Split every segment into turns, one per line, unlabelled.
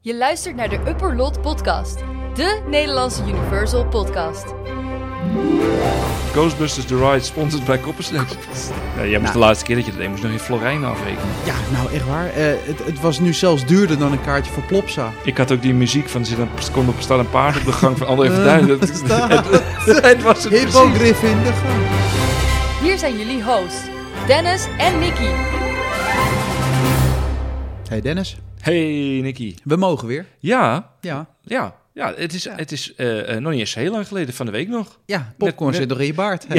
Je luistert naar de Upper Lot Podcast, de Nederlandse Universal Podcast.
Ghostbusters The Ride, sponsored bij Copperslips. Ja, jij moest
Nou.
de laatste keer dat je dat deed, moest nog je Florijn afrekenen.
Ja, nou echt waar. Eh, het, het was nu zelfs duurder dan een kaartje voor Plopsa.
Ik had ook die muziek van, er zit een, er komt op, staat een paard op de gang van alle even duiden. Het,
staat.
het- het was het
Hippo
precies.
Griffin de gang.
Hier zijn jullie hosts, Dennis en Mickey.
Hey Dennis,
Hey Nicky.
we mogen weer.
Ja,
Ja,
ja, ja, het is, Het is eh, eh, nog niet eens heel lang geleden, van de week nog.
ja popcorn
net-
zit nog in je baard. Hey,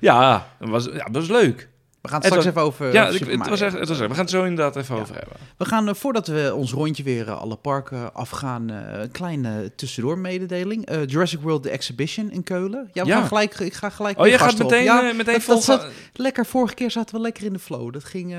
ja, dat was, ja, dat was leuk.
We gaan
Het
het straks
was-
even over
ja,
over
ik-
Super
het
Mario.
was echt, het was echt- we gaan het zo inderdaad even
Ja.
over hebben.
We gaan, eh, voordat we ons rondje weer eh, alle parken afgaan, eh, een kleine tussendoor mededeling. Eh, Jurassic World The Exhibition in Keulen. Ja, we
Ja.
Gaan gelijk, ik ga gelijk
Oh,
mijn
je gaat
gasten op.
meteen,
Ja,
eh, meteen
dat-
volgen.
dat zat- lekker, vorige keer zaten we lekker in de flow. Dat ging... eh,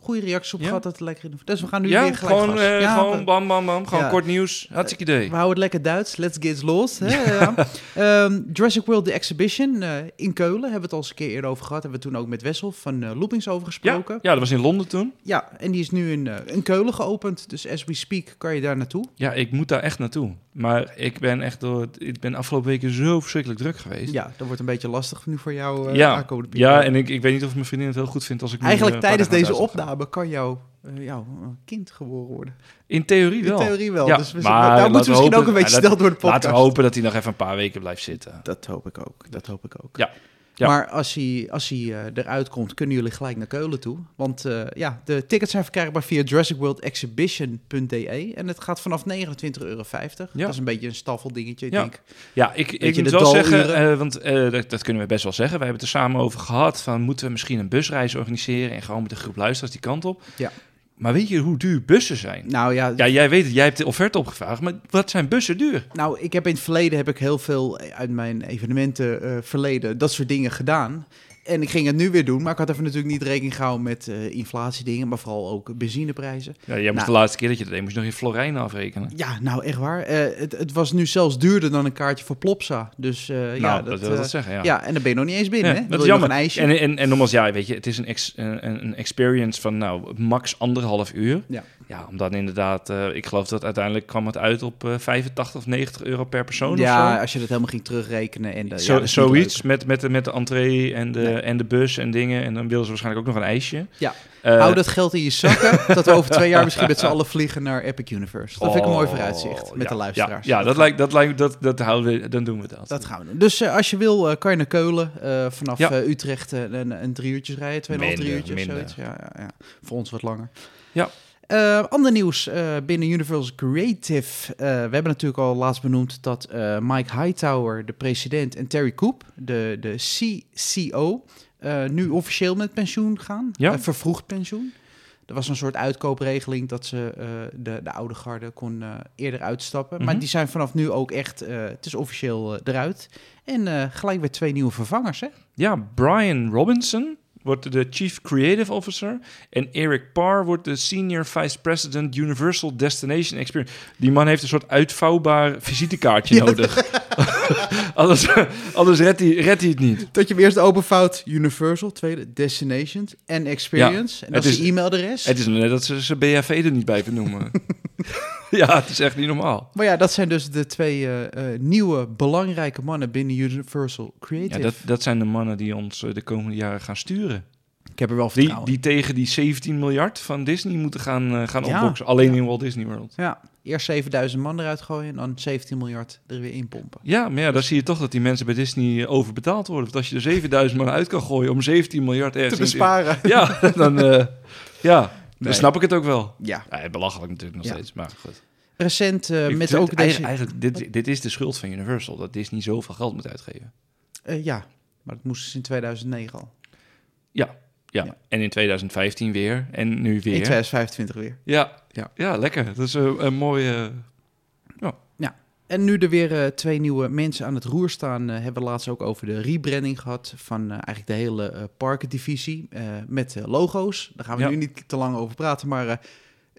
Goede reacties op
Ja.
gehad dat het lekker in de flow. Dus we gaan nu
ja,
weer gelijk
gewoon,
gas.
eh,
Ja, we-
gewoon bam, bam, bam. Gewoon
Ja.
kort nieuws. Hartstikke idee.
We houden het lekker Duits. Let's get lost. Hè? Ja. Ehm, Jurassic World The Exhibition eh, in Keulen. Hebben we het al eens een keer eerder over gehad. Hebben we toen ook met Wessel van eh, Loopings over
Ja,
gesproken.
ja,
Ja,
dat was in Londen toen.
en die is nu in, eh, in Keulen geopend. Dus as we speak kan je daar naartoe.
Ja, ik moet daar echt naartoe. Maar ik ben echt door. het- Ik ben afgelopen weken zo verschrikkelijk druk geweest.
Ja, dat wordt een beetje lastig nu voor jou eh,
ja,
aankomende periode.
ja en ik, ik weet niet of mijn vriendin het heel goed vindt als ik. nu,
Eigenlijk
eh, een
tijdens
paar
deze
dagen naar Duitsland
opname kan jouw eh, jouw eh, kind geboren worden.
ga. In theorie
In
wel.
theorie wel.
Ja,
dus we,
maar
daar
laten
moeten we
we
misschien ook
hopen-
een beetje
ja,
snel door de podcast.
Laten we hopen dat hij nog even een paar weken blijft zitten.
Dat hoop ik ook. Dat hoop ik ook.
Ja. Ja.
Maar als hij, als hij eh, eruit komt, kunnen jullie gelijk naar Keulen toe. Want eh, ja, de tickets zijn verkrijgbaar via JurassicWorldExhibition.de. e En het gaat vanaf 29,50 euro. Dat is een beetje een staffeldingetje. Ik
Ja.
denk,
Ja, ik, ik
je,
moet
de
wel zeggen,
daluren.
eh, want eh, dat, dat kunnen we best wel zeggen. We hebben het er samen over gehad van moeten we misschien een busreis organiseren en gewoon met een groep luisteraars die kant op.
Ja.
Maar weet je hoe duur bussen zijn?
nou ja,
Ja, jij weet het, jij hebt de offerte opgevraagd, maar wat zijn bussen duur?
Nou, ik heb in het verleden heb ik heel veel eh, uit mijn evenementen eh, verleden dat soort dingen gedaan. En ik ging het nu weer doen, maar ik had even natuurlijk niet rekening gehouden met eh, inflatiedingen, maar vooral ook benzineprijzen.
Ja, jij moest
Nou.
de laatste keer dat je dat deed, moest je nog je Florijn afrekenen.
Ja, nou echt waar. Eh, het, het was nu zelfs duurder dan een kaartje voor Plopsa. Dus eh, ja,
nou, dat, wil
eh,
dat zeggen, ja.
ja. en dan ben je nog niet eens
Ja,
binnen. hè? Dan
dat
wil
is
je nog
jammer.
een ijsje.
En, en, en nogmaals, ja, weet je, het is een, ex, een, een experience van nou, max anderhalf uur.
Ja.
ja om dan inderdaad, eh, ik geloof dat uiteindelijk kwam het uit op eh 85 of 90 euro per persoon of
ja,
zo.
als je dat helemaal ging terugrekenen. En, eh,
Zo-
ja, dat is niet
zoiets met, met, de- met de entree en de,
Nee.
en de bus en dingen. En dan wilden ze waarschijnlijk ook nog een ijsje.
Ja.
Eh,
leuk. Hou dat geld in je zakken, dat we over twee jaar misschien met z'n allen vliegen naar Epic Universe. Dat vind ik een mooi
oh,
vooruitzicht met
ja,
de luisteraars.
Ja, ja dat, lijkt, dat, lijkt, dat, dat houden we, dan doen we dat.
Dat gaan we doen. Dus eh, als je wil, eh, kan je naar Keulen. eh, vanaf
Ja.
eh, Utrecht eh, een, een drie uurtjes rijden. Tweeënhalf, drie
Minder,
uurtjes.
minder.
Zoiets. Ja, ja, ja. Voor ons wat langer.
Ja.
Eh, ander nieuws eh, binnen Universal Creative. Eh, we hebben natuurlijk al laatst benoemd dat eh, Mike Hightower, de president, en Terry Koop, de, de CCO, eh, nu officieel met pensioen gaan.
Ja.
Eh, vervroegd pensioen. Er was een soort uitkoopregeling dat ze eh, de, de oude garde kon eh, eerder uitstappen. Maar
Mhm.
die zijn vanaf nu ook echt, eh, het is officieel eh, eruit. En eh, gelijk weer twee nieuwe vervangers, hè?
Ja, Brian Robinson wordt de Chief Creative Officer. En Eric Parr wordt de Senior Vice President Universal Destination Experience. Die man heeft een soort uitvouwbaar visitekaartje nodig. anders, anders redt, hij, redt hij het niet.
Dat je hem eerst openvouwt, Universal, tweede, Destinations en Experience. en dat
het
is
is-
je e-mailadres.
Het is nog net dat ze zijn BHV er niet bij benoemen. ja, het is echt niet normaal.
Maar ja, dat zijn dus de twee eh, eh, nieuwe belangrijke mannen binnen Universal
Ja,
Creative.
dat, dat zijn de mannen die ons eh, de komende jaren gaan sturen.
Ik heb er wel
Die,
vertrouwen in.
die tegen die 17 miljard van Disney moeten gaan, eh, gaan
Ja.
opboksen. Alleen
Ja.
in Walt Disney World.
Ja, eerst 7000 man eruit gooien en dan 17 miljard er weer in pompen.
Ja, maar ja, dan zie je toch dat die mensen bij Disney eh, overbetaald worden. Want als je er 7000 man uit kan gooien om 17 miljard ergens
Te
in-
besparen.
Ja, dan, eh, ja,
Nee.
dan snap ik het ook wel.
Ja.
Ja, belachelijk natuurlijk nog
Ja.
steeds, maar goed.
Recent eh,
Ik
met
vind
ook
het
deze...
eigen- Eigenlijk, dit, dit is de schuld van Universal, dat Disney zoveel geld moet uitgeven.
Eh, ja, maar dat moesten ze in 2009 al.
Ja,
Ja.
en in 2015 weer, en nu weer.
In 2025 weer.
Ja,
Ja.
ja. ja, lekker. Dat is eh, een mooie...
En nu er weer eh, twee nieuwe mensen aan het roer staan, eh, hebben we laatst ook over de rebranding gehad van eh, eigenlijk de hele eh, parkendivisie eh, met eh, logo's. Daar gaan we
Ja.
nu niet te lang over praten, maar eh,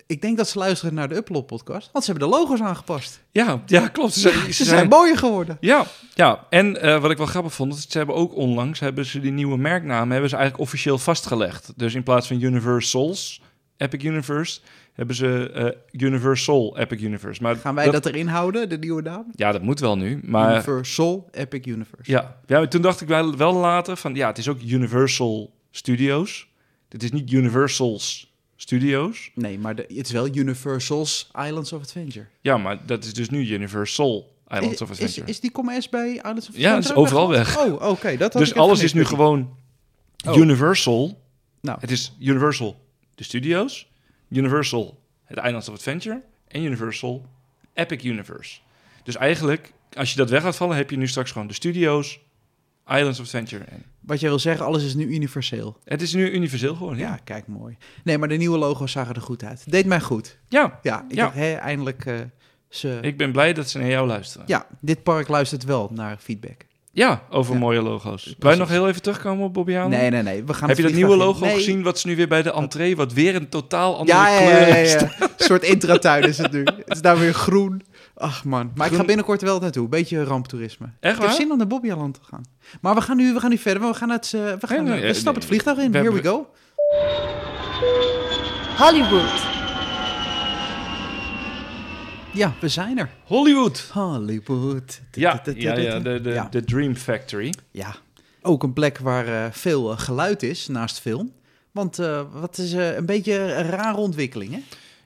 ik denk dat ze luisteren naar de Upload podcast, want ze hebben de logo's aangepast.
Ja, ja klopt. Ze, ze
Ze zijn mooier geworden.
Ja, ja. en eh, wat ik wel grappig vond, is ze hebben ook onlangs hebben ze die nieuwe merknamen hebben ze eigenlijk officieel vastgelegd. Dus in plaats van Universals, Epic Universe, hebben ze eh, Universal Epic Universe. Maar
Gaan wij dat, erin houden, de nieuwe naam?
Ja, dat moet wel nu. Maar
Universal Epic Universe.
ja. ja, maar toen dacht ik wel, wel later van ja, het is ook Universal Studios. Dit is niet Universal's Studios.
Nee, maar de- het is wel Universal's Islands of Adventure.
Ja, maar dat is dus nu Universal Islands of
Is-
Adventure.
Is, is die commerce bij Islands of Adventure?
Ja, het is
ook
overal
Oh, oké. dat
dus
had ik even
alles is nu
gemist.
gewoon
Oh.
Universal.
Nou.
Het is Universal de studios, Universal het Islands of Adventure en Universal Epic Universe. Dus eigenlijk, als je dat weg gaat vallen, heb je nu straks gewoon de studios, Islands of Adventure. En
Wat jij wil zeggen, alles is nu universeel.
het is nu universeel gewoon,
Ja,
ja.
kijk, mooi. Nee, maar de nieuwe logo's zagen er goed uit. Deed mij goed.
Ja,
Ja, ik
Ja.
dacht, hé, eindelijk eh, ze...
ik ben blij dat ze naar jou luisteren. Ja,
Ja, dit park luistert wel naar feedback.
over
Ja.
mooie logo's. Wil je
Precies.
nog heel even terugkomen op Bobby Haaland?
Nee, nee, nee. We gaan
Heb je dat
het vliegtuig
nieuwe
in.
logo
Nee.
gezien, wat ze nu weer bij de entree, wat weer een totaal andere
Ja, ja,
kleur
ja, ja,
is?
ja. Een soort intratuin is het nu. Het is daar weer groen. Ach man. Maar ik ga
Groen.
binnenkort wel naartoe. Beetje ramptoerisme.
Echt
Ik heb
waar?
zin om naar Bobbejaanland te gaan. Maar we gaan nu, we gaan nu verder. want We gaan het, eh, we gaan,
nee,
we
eh,
stappen het vliegtuig in.
we
Here we
hebben-
go.
Hollywood.
Ja, we zijn er.
Hollywood!
Hollywood.
Ja, ja, ja, de, de,
Ja.
de Dream Factory.
Ja. Ook een plek waar eh, veel eh, geluid is naast film. Want eh, wat is eh, een beetje een rare ontwikkeling, hè?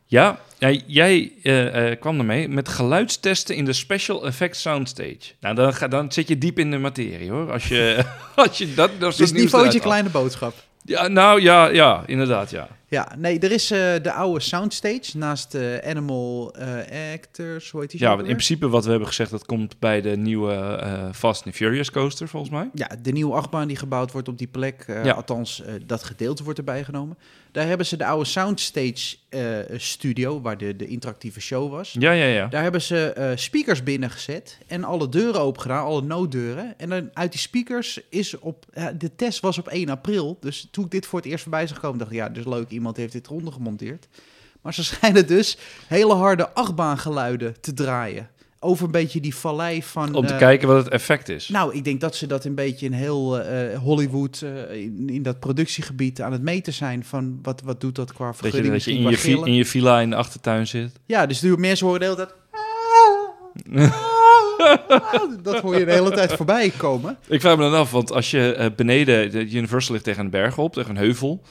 Ja, jij, jij eh, eh, kwam ermee met geluidstesten in de Special Effects Soundstage. Nou, dan, ga, dan zit je diep in de materie, hoor. Als je, als je dat... dat
Dus
soort nieuws
niveautje
eruit haalt.
kleine boodschap.
Ja, nou, ja, ja, inderdaad, ja.
Ja, nee, er is eh, de oude soundstage naast eh, Animal eh, Actors, hoe heet die?
Ja,
zo
want
ook
in
weer?
principe wat we hebben gezegd, dat komt bij de nieuwe eh, Fast and Furious coaster, volgens mij.
Ja, de nieuwe achtbaan die gebouwd wordt op die plek, eh,
Ja.
althans eh, dat gedeelte wordt erbij genomen. Daar hebben ze de oude soundstage eh, studio, waar de, de interactieve show was.
Ja, ja, ja.
Daar hebben ze eh, speakers binnengezet en alle deuren opengedaan, alle nooddeuren. En dan uit die speakers is op... ja, de test was op 1 april, dus toen ik dit voor het eerst voorbij zag komen... dacht ik, ja, dus leuk, iemand heeft dit ronde gemonteerd. Maar ze schijnen dus hele harde achtbaangeluiden te draaien. Over een beetje die vallei van...
Om te
eh,
kijken wat het effect is.
Nou, ik denk dat ze dat een beetje in heel eh, Hollywood, eh, in, in dat productiegebied aan het meten zijn... van wat, wat doet dat qua
dat je,
vergunning,
dat je
misschien
in, je
qua
vi-
gillen.
in je villa in de achtertuin zit.
Ja, dus de mensen horen de hele tijd... Dat hoor je de hele tijd voorbij komen.
Ik vraag me dan af, want als je eh, beneden, de Universal ligt tegen een berg op, tegen een heuvel.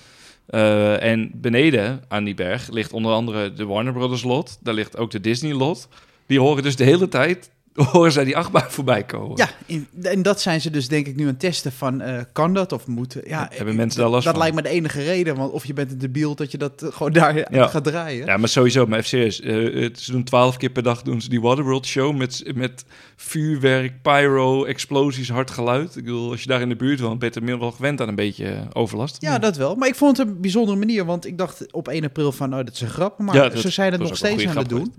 Eh, en beneden aan die berg ligt onder andere de Warner Brothers lot. Daar ligt ook de Disney lot. Die horen dus de hele tijd, horen zij die achtbaan voorbij komen.
Ja, in- en dat zijn ze dus denk ik nu aan het testen van... eh, kan dat of moet... Ja, eh,
Hebben mensen daar last
dat
van?
lijkt me de enige reden. Want of je bent een debiel dat je dat eh, gewoon daar
Ja.
gaat draaien.
Ja, maar sowieso, maar even serieus. eh, het- ze doen twaalf keer per dag doen ze die Waterworld show met, met vuurwerk, pyro, explosies, hard geluid. Ik bedoel, als je daar in de buurt woont, ben je er wel gewend aan een beetje eh, overlast.
Ja, dat wel. Maar ik vond het een bijzondere manier. Want ik dacht op 1 april van, oh, dat is een grap. Maar
Ja, dat-
ze zijn het
dat
nog
was ook
steeds
een
aan het
goede
doen.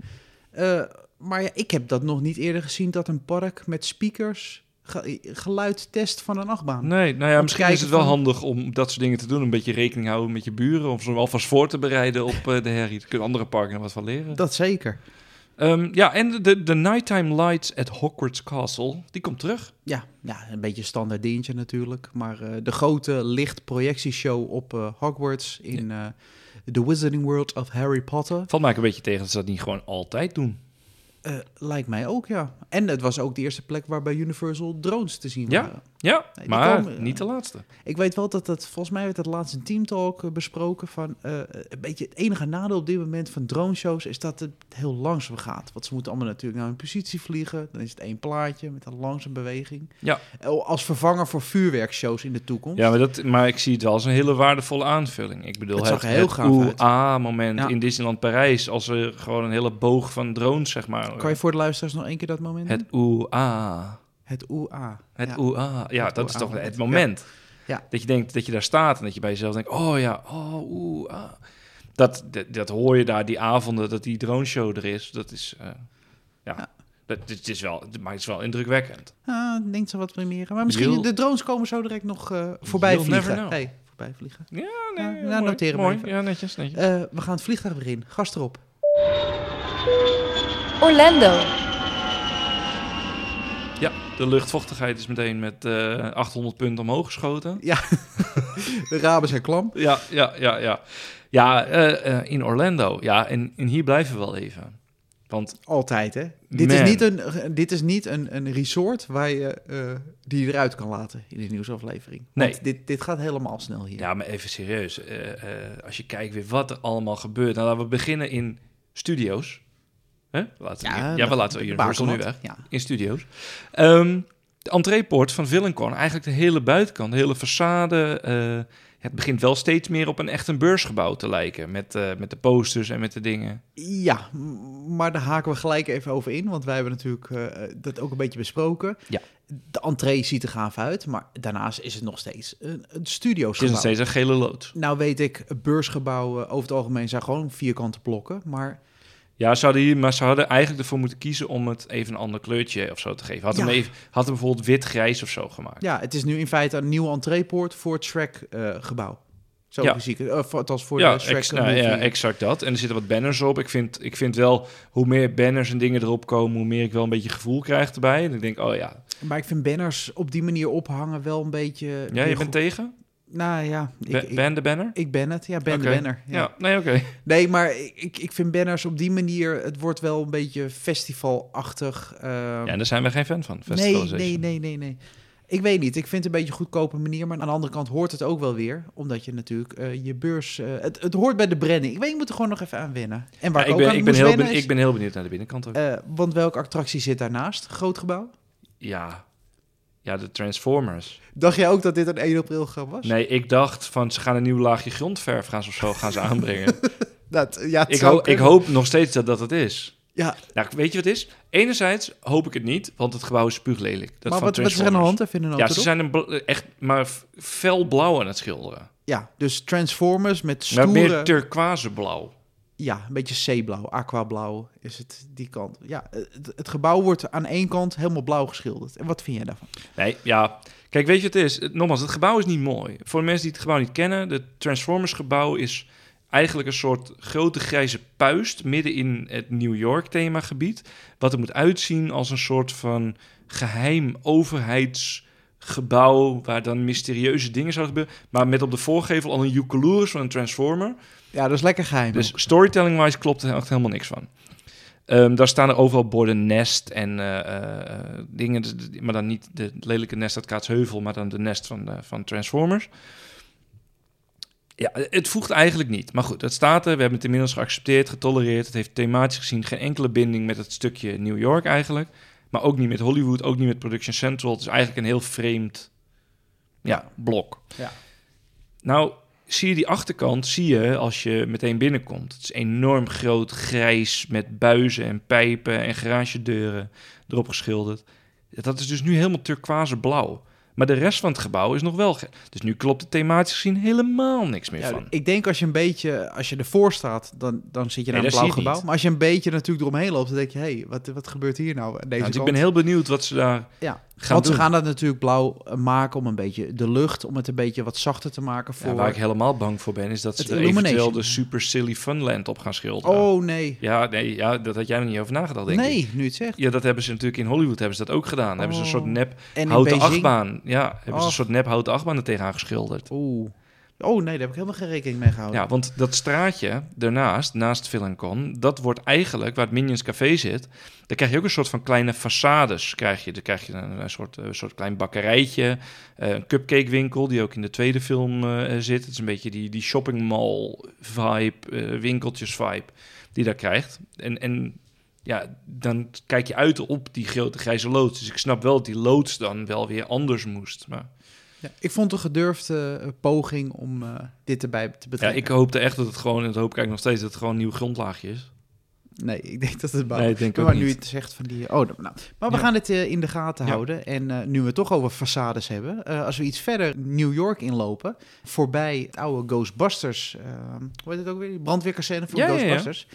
Eh, maar ja, ik heb dat nog niet eerder gezien, dat een park met speakers ge- geluid test van een achtbaan.
Nee, nou ja,
Om
misschien
te
is het wel
kijken van-
handig om dat soort dingen te doen. Een beetje rekening houden met je buren. Of ze alvast voor te bereiden op eh, de herrie. Daar kunnen andere parken nog wat van leren.
Dat zeker.
Ehm, ja, en de, de Nighttime Lights at Hogwarts Castle, die komt terug.
Ja, ja, een beetje een standaard dingetje natuurlijk. Maar eh, de grote lichtprojectieshow op eh, Hogwarts in eh, The Wizarding World of Harry Potter.
Valt mij ook een beetje tegen dat ze dat niet gewoon altijd doen.
Eh, lijkt mij ook, ja. En het was ook de eerste plek waar bij Universal drones te zien
Ja?
waren.
Ja,
Nee, die
maar
komen, eh, ja.
niet de laatste.
Ik weet wel dat dat, volgens mij werd dat laatst in teamtalk eh, besproken van eh, een beetje het enige nadeel op dit moment van droneshows is dat het heel langzaam gaat. Want ze moeten allemaal natuurlijk naar hun positie vliegen. Dan is het één plaatje met een langzame beweging.
Ja.
Eh, Als vervanger voor vuurwerkshows in de toekomst.
Ja, maar, dat, maar ik zie het wel als een hele waardevolle aanvulling. Ik bedoel,
Het
het,
zag
het,
er heel gaaf uit.
OEA-moment
Ja.
in Disneyland Parijs. Als er gewoon een hele boog van drones, zeg maar.
Kan je voor de luisteraars nog één keer dat moment?
Het OEA.
het OEA.
Het
ja.
oeh-ah. Ja,
Het
dat is
oeh-ah
toch
moment.
het moment.
Ja. Ja.
Dat je denkt dat je daar staat en dat je bij jezelf denkt: oh ja, oh oeh. ah. Dat, dat, dat hoor je daar die avonden dat die droneshow er is. Dat is. eh, ja.
Ja.
Dat, het is wel, maar het is wel indrukwekkend.
Ah, ik denk ze wat primeren. Maar misschien
You'll-
de drones komen zo direct nog eh, voorbij
You'll never
vliegen.
know.
Hey, voorbij vliegen.
Ja,
nee, nou,
mooi,
noteren we
eh, mooi.
even.
Ja, netjes, netjes.
Eh, we gaan het vliegtuig weer in. Gast erop. Eh.
Orlando.
De luchtvochtigheid is meteen met eh, 800 punten omhoog geschoten.
De ramen zijn klam.
Ja, ja, ja, ja. Ja, eh, eh, in Orlando. Ja, en, en hier blijven we wel even. Want
Altijd, hè? Dit is
Man.
niet, een, dit is niet een, een resort waar je, eh, die je eruit kan laten in de nieuwsaflevering. Want
Nee.
dit, dit gaat helemaal snel hier.
Ja, maar even serieus. Eh, eh, als je kijkt weer wat er allemaal gebeurt. Nou, laten we beginnen in studio's. Hè? Laten we, ja, we laten we Universal nu
Bakermat.
weg.
Ja.
In studio's. Ehm, de entreepoort van Villencorn, eigenlijk de hele buitenkant, de hele façade. eh, het begint wel steeds meer op een echt een beursgebouw te lijken. Met, eh, met de posters en met de dingen.
Ja, m- maar daar haken we gelijk even over in, want wij hebben natuurlijk eh, dat ook een beetje besproken.
Ja.
De entree ziet er gaaf uit, maar daarnaast is het nog steeds een, een
Het is nog
studiogebouw.
steeds een gele lood.
Nou weet ik, beursgebouwen over het algemeen zijn gewoon vierkante blokken, maar
Ja, ze hadden hier, maar ze hadden eigenlijk ervoor moeten kiezen om het even een ander kleurtje of zo te geven. Had,
Ja.
hem, even, had hem bijvoorbeeld wit-grijs of zo gemaakt.
ja, het is nu in feite een nieuwe entreepoort voor het Shrek-gebouw. Zo
Ja.
fysiek, eh, voor- althans voor
ja,
de Shrek
ex- nou,
movie.
ja, exact dat. En er zitten wat banners op. Ik vind, ik vind wel, hoe meer banners en dingen erop komen, hoe meer ik wel een beetje gevoel krijg erbij. En ik denk, oh ja,
Maar ik vind banners op die manier ophangen wel een beetje...
ja je bent tegen?
Nou ja, ik,
Ba-
ik,
ban de banner?
ik ben het. Ja, ben
Oké.
de banner.
Ja, nee, oké.
Nee, maar ik, ik vind banners op die manier... Het wordt wel een beetje festivalachtig. ehm,
Ja, en daar zijn we geen fan van.
nee,
Festivalisation.
nee, nee, nee, nee. Ik weet niet. Ik vind het een beetje een goedkope manier. Maar aan de andere kant hoort het ook wel weer. Omdat je natuurlijk eh, je beurs... eh, het, het hoort bij de branding. Ik weet, ik moet er gewoon nog even aan wennen. En waar
Ja, ik,
ik, ook
ben,
aan
ik, ben
moest
heel
wennen
ben,
is,
ik ben heel benieuwd naar de binnenkant ook.
eh, want welke attractie zit daarnaast? Groot gebouw?
ja. ja, de Transformers.
Dacht jij ook dat dit een 1 april grap was?
Nee, ik dacht van ze gaan een nieuw laagje grondverf gaan ze of zo gaan ze aanbrengen.
Dat, ja, het
ik,
zou
hoop ik
kunnen.
hoop nog steeds dat dat het is.
Ja,
Nou, weet je wat het is? Enerzijds hoop ik het niet, want het gebouw is spuuglelijk. Dat
maar
van
wat, wat is er aan de
Transformers.
hand? Even een
Ja,
auto
ze zijn een bl- eh, echt maar f- fel blauw aan het schilderen.
Ja, dus Transformers met
Maar
stoere...
meer turquoise blauw.
ja, een beetje zeeblauw, aquablauw is het die kant. Ja, het, het gebouw wordt aan één kant helemaal blauw geschilderd. En wat vind jij daarvan?
Nee, ja. Kijk, weet je wat het is? Het- Nogmaals, het gebouw is niet mooi. Voor de mensen die het gebouw niet kennen, het Transformers gebouw is eigenlijk een soort grote grijze puist midden in het New York themagebied. Wat er moet uitzien als een soort van geheim overheidsgebouw waar dan mysterieuze dingen zouden gebeuren. Maar met op de voorgevel al een Eucalurus van een Transformer.
Ja, dat is lekker geheim.
Dus
ook.
storytelling-wise klopt er echt helemaal niks van. Ehm, daar staan er overal borden nest en eh, eh, eh, dingen, dus d- maar dan niet de lelijke nest uit Kaatsheuvel, maar dan de nest van, eh, van Transformers. Ja, het voegt eigenlijk niet. Maar goed, dat staat er. We hebben het inmiddels geaccepteerd, getolereerd. Het heeft thematisch gezien geen enkele binding met het stukje New York eigenlijk. Maar ook niet met Hollywood, ook niet met Production Central. Het is eigenlijk een heel vreemd ja, blok.
Ja.
Nou, zie je die achterkant, zie je als je meteen binnenkomt. Het is enorm groot, grijs, met buizen en pijpen en garagedeuren erop geschilderd. Dat is dus nu helemaal turquoise blauw. Maar de rest van het gebouw is nog wel... ge- Dus nu klopt er thematisch gezien helemaal niks meer
Ja,
van.
ik denk als je een beetje, als je ervoor staat, dan, dan zit je
Nee,
naar
dat
een
zie
blauw
je
gebouw.
niet.
Maar als je een beetje natuurlijk eromheen loopt, dan denk je, hé, hey, wat, wat gebeurt hier nou aan deze
Nou, dus ik
kant?
ben heel benieuwd wat ze daar
Ja,
gaan
Want
doen.
ze gaan dat natuurlijk blauw eh, maken om een beetje de lucht, om het een beetje wat zachter te maken
Ja,
voor...
waar ik helemaal bang voor ben, is dat
Het
ze er
Illumination.
eventueel de Super Silly Funland op gaan schilderen.
oh nee,
Ja, nee, ja, dat had jij nog niet over nagedacht, denk ik.
nee, nu het zegt.
Ja, dat hebben ze natuurlijk in Hollywood hebben ze dat ook gedaan. Hebben ze een soort
Oh.
nep
En in
houten
Beijing-
achtbaan. Ja, hebben ze
Oh.
een soort nep houten achtbaan er tegenaan geschilderd.
Oeh. Oh nee, daar heb ik helemaal geen rekening mee gehouden.
Ja, want dat straatje daarnaast, naast Villancon, dat wordt eigenlijk waar het Minions Café zit. Daar krijg je ook een soort van kleine façades. Krijg je, daar krijg je een, een soort, een soort klein bakkerijtje, eh, een cupcakewinkel die ook in de tweede film eh, zit. Het is een beetje die, die shopping mall vibe, eh, winkeltjes vibe die daar krijgt. En, en ja, dan kijk je uit op die grote grijze loods. Dus ik snap wel dat die loods dan wel weer anders moest. Maar
Ja, ik vond een gedurfde eh, poging om eh, dit erbij te
ja,
betrekken.
ik hoopte echt dat het gewoon, en dat hoop ik eigenlijk nog steeds, dat het gewoon een nieuw grondlaagje is.
Nee, ik denk dat het bouw.
Nee, ik denk ook
maar nu
niet.
je het zegt van die... Oh, nou. Maar we
Ja.
gaan het eh, in de gaten
Ja.
houden. En eh, nu we het toch over façades hebben. eh, als we iets verder New York inlopen. Voorbij het oude Ghostbusters. eh, hoe heet het ook weer? Die brandweerkazerne van
Ja, ja, ja.
Ghostbusters.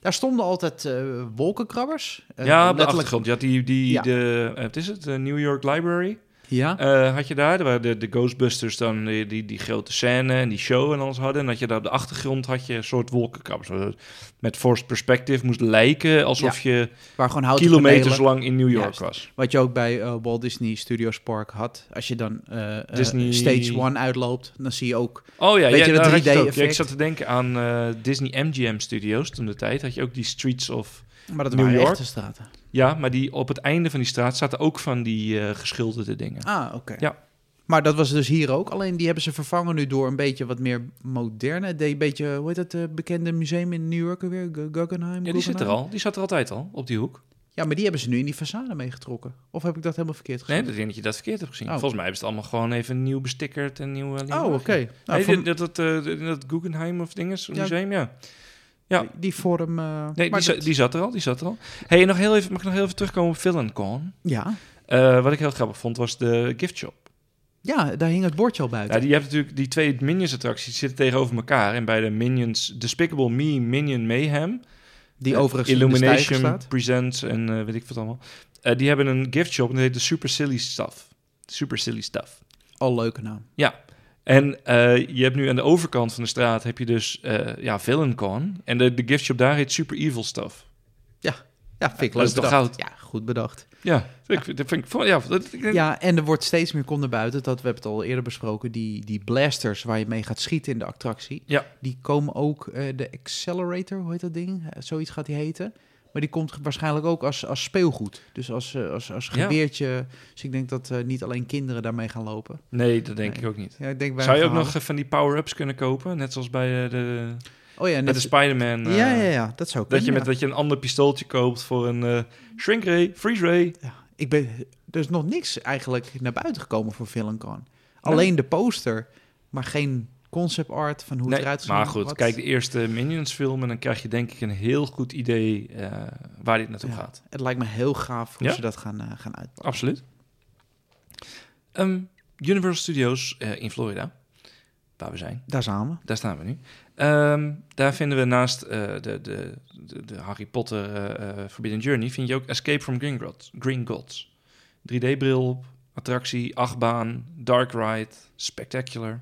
Daar stonden altijd eh, wolkenkrabbers. eh,
ja, op de
letterlijk-
achtergrond. Je had die, die
Ja.
de, eh, wat is het, de New York Library.
Ja.
Eh, had je daar, waar de, de Ghostbusters dan die, die, die grote scène en die show en alles hadden. En dat je daar op de achtergrond had je een soort wolkenkappers. waar het Met forced perspective moest lijken alsof je
Waar gewoon houten
kilometers
panelen,
lang in New York
Juist.
was.
Wat je ook bij eh, Walt Disney Studios Park had. Als je dan eh, eh,
Disney-
Stage 1 uitloopt, dan zie je ook...
Oh ja,
Weet
ja,
je dat
daar had je het ook. Ja,
3D-effect?
ik zat te denken aan eh, Disney MGM Studios toen de tijd. Had je ook die streets of...
Maar dat
New
waren
York?
echte straten.
Ja, maar die, op het einde van die straat zaten ook van die eh, geschilderde dingen.
Ah, oké.
Ja.
Maar dat was dus hier ook. Alleen die hebben ze vervangen nu door een beetje wat meer moderne. Die beetje, hoe heet dat eh, bekende museum in New York weer? Guggenheim?
Ja, die zit er
Guggenheim?
al. Die zat er altijd al, op die hoek.
Ja, maar die hebben ze nu in die façade meegetrokken. Of heb ik dat helemaal verkeerd
Nee,
gezien?
ik denk dat je dat verkeerd hebt gezien.
Oh.
Volgens mij hebben ze het allemaal gewoon even nieuw bestickerd en nieuw... eh, nieuw
oh, oké.
laagje.
Nou,
Nee,
van-
dit- dat, dat, eh, dat Guggenheim of dinges,
Ja.
museum, ja. ja.
die- Die vorm... eh,
Nee,
maar
die, za-
dat-
die zat er al, die zat er al. Hey, nog heel even, mag ik nog heel even terugkomen op Villancon?
Ja.
Eh wat ik heel grappig vond, was de gift shop.
ja, daar hing het bordje al buiten.
Ja, die je hebt natuurlijk die twee Minions-attracties zitten tegenover elkaar. En bij de Minions, Despicable Me, Minion Mayhem...
Die
Eh,
overigens in de stijger
Illumination
staat.
Presents en eh, weet ik wat allemaal. Eh, die hebben een gift shop en dat heet de Super Silly Stuff. Super Silly Stuff.
Al leuke naam.
En eh, je hebt nu aan de overkant van de straat heb je dus eh ja, VillainCon. En de, de gift shop daar heet Super Evil Stuff.
Ja, vind ik
dat
leuk
is toch
bedacht.
goud?
Ja, goed bedacht.
Ja, ik vind- dat vind ik... van- Ja, dat, ik-
Ja, en er wordt steeds meer komt naar buiten. Dat we hebben het al eerder besproken. Die, die blasters waar je mee gaat schieten in de attractie.
Ja.
Die komen ook eh, de accelerator, hoe heet dat ding? Eh, zoiets gaat die heten. Maar die komt waarschijnlijk ook als, als speelgoed. Dus als, eh, als, als
Ja.
geweertje. Dus ik denk dat eh, niet alleen kinderen daarmee gaan lopen.
Nee, dat denk
Nee.
ik ook niet.
Ja, ik denk bij
Zou je ook
verhalen-
nog eh, van die power-ups kunnen kopen? Net zoals bij eh, de,
Oh ja,
met de
net,
Spider-Man. eh,
ja, ja, ja, dat zou
Dat
kunnen.
je, met,
ja.
dat je een ander pistooltje koopt voor een eh, shrink ray, freeze ray.
Ja, ik ben, er is nog niks eigenlijk naar buiten gekomen voor VillainCon. Alleen de poster, maar geen concept art van hoe het eruit ziet.
maar goed, kijk de eerste Minions film en dan krijg je denk ik een heel goed idee eh, waar dit naartoe
Ja.
gaat.
Het lijkt me heel gaaf hoe
Ja?
ze dat gaan, eh, gaan uitpakken.
Absoluut. Ehm, Universal Studios eh, in Florida, waar we zijn.
Daar samen.
Daar staan we nu. Ehm, daar vinden we naast eh, de, de, de, de Harry Potter eh, eh, Forbidden Journey... vind je ook Escape from Green Gods. Green Gods. 3D-bril op, attractie, achtbaan, dark ride, spectacular.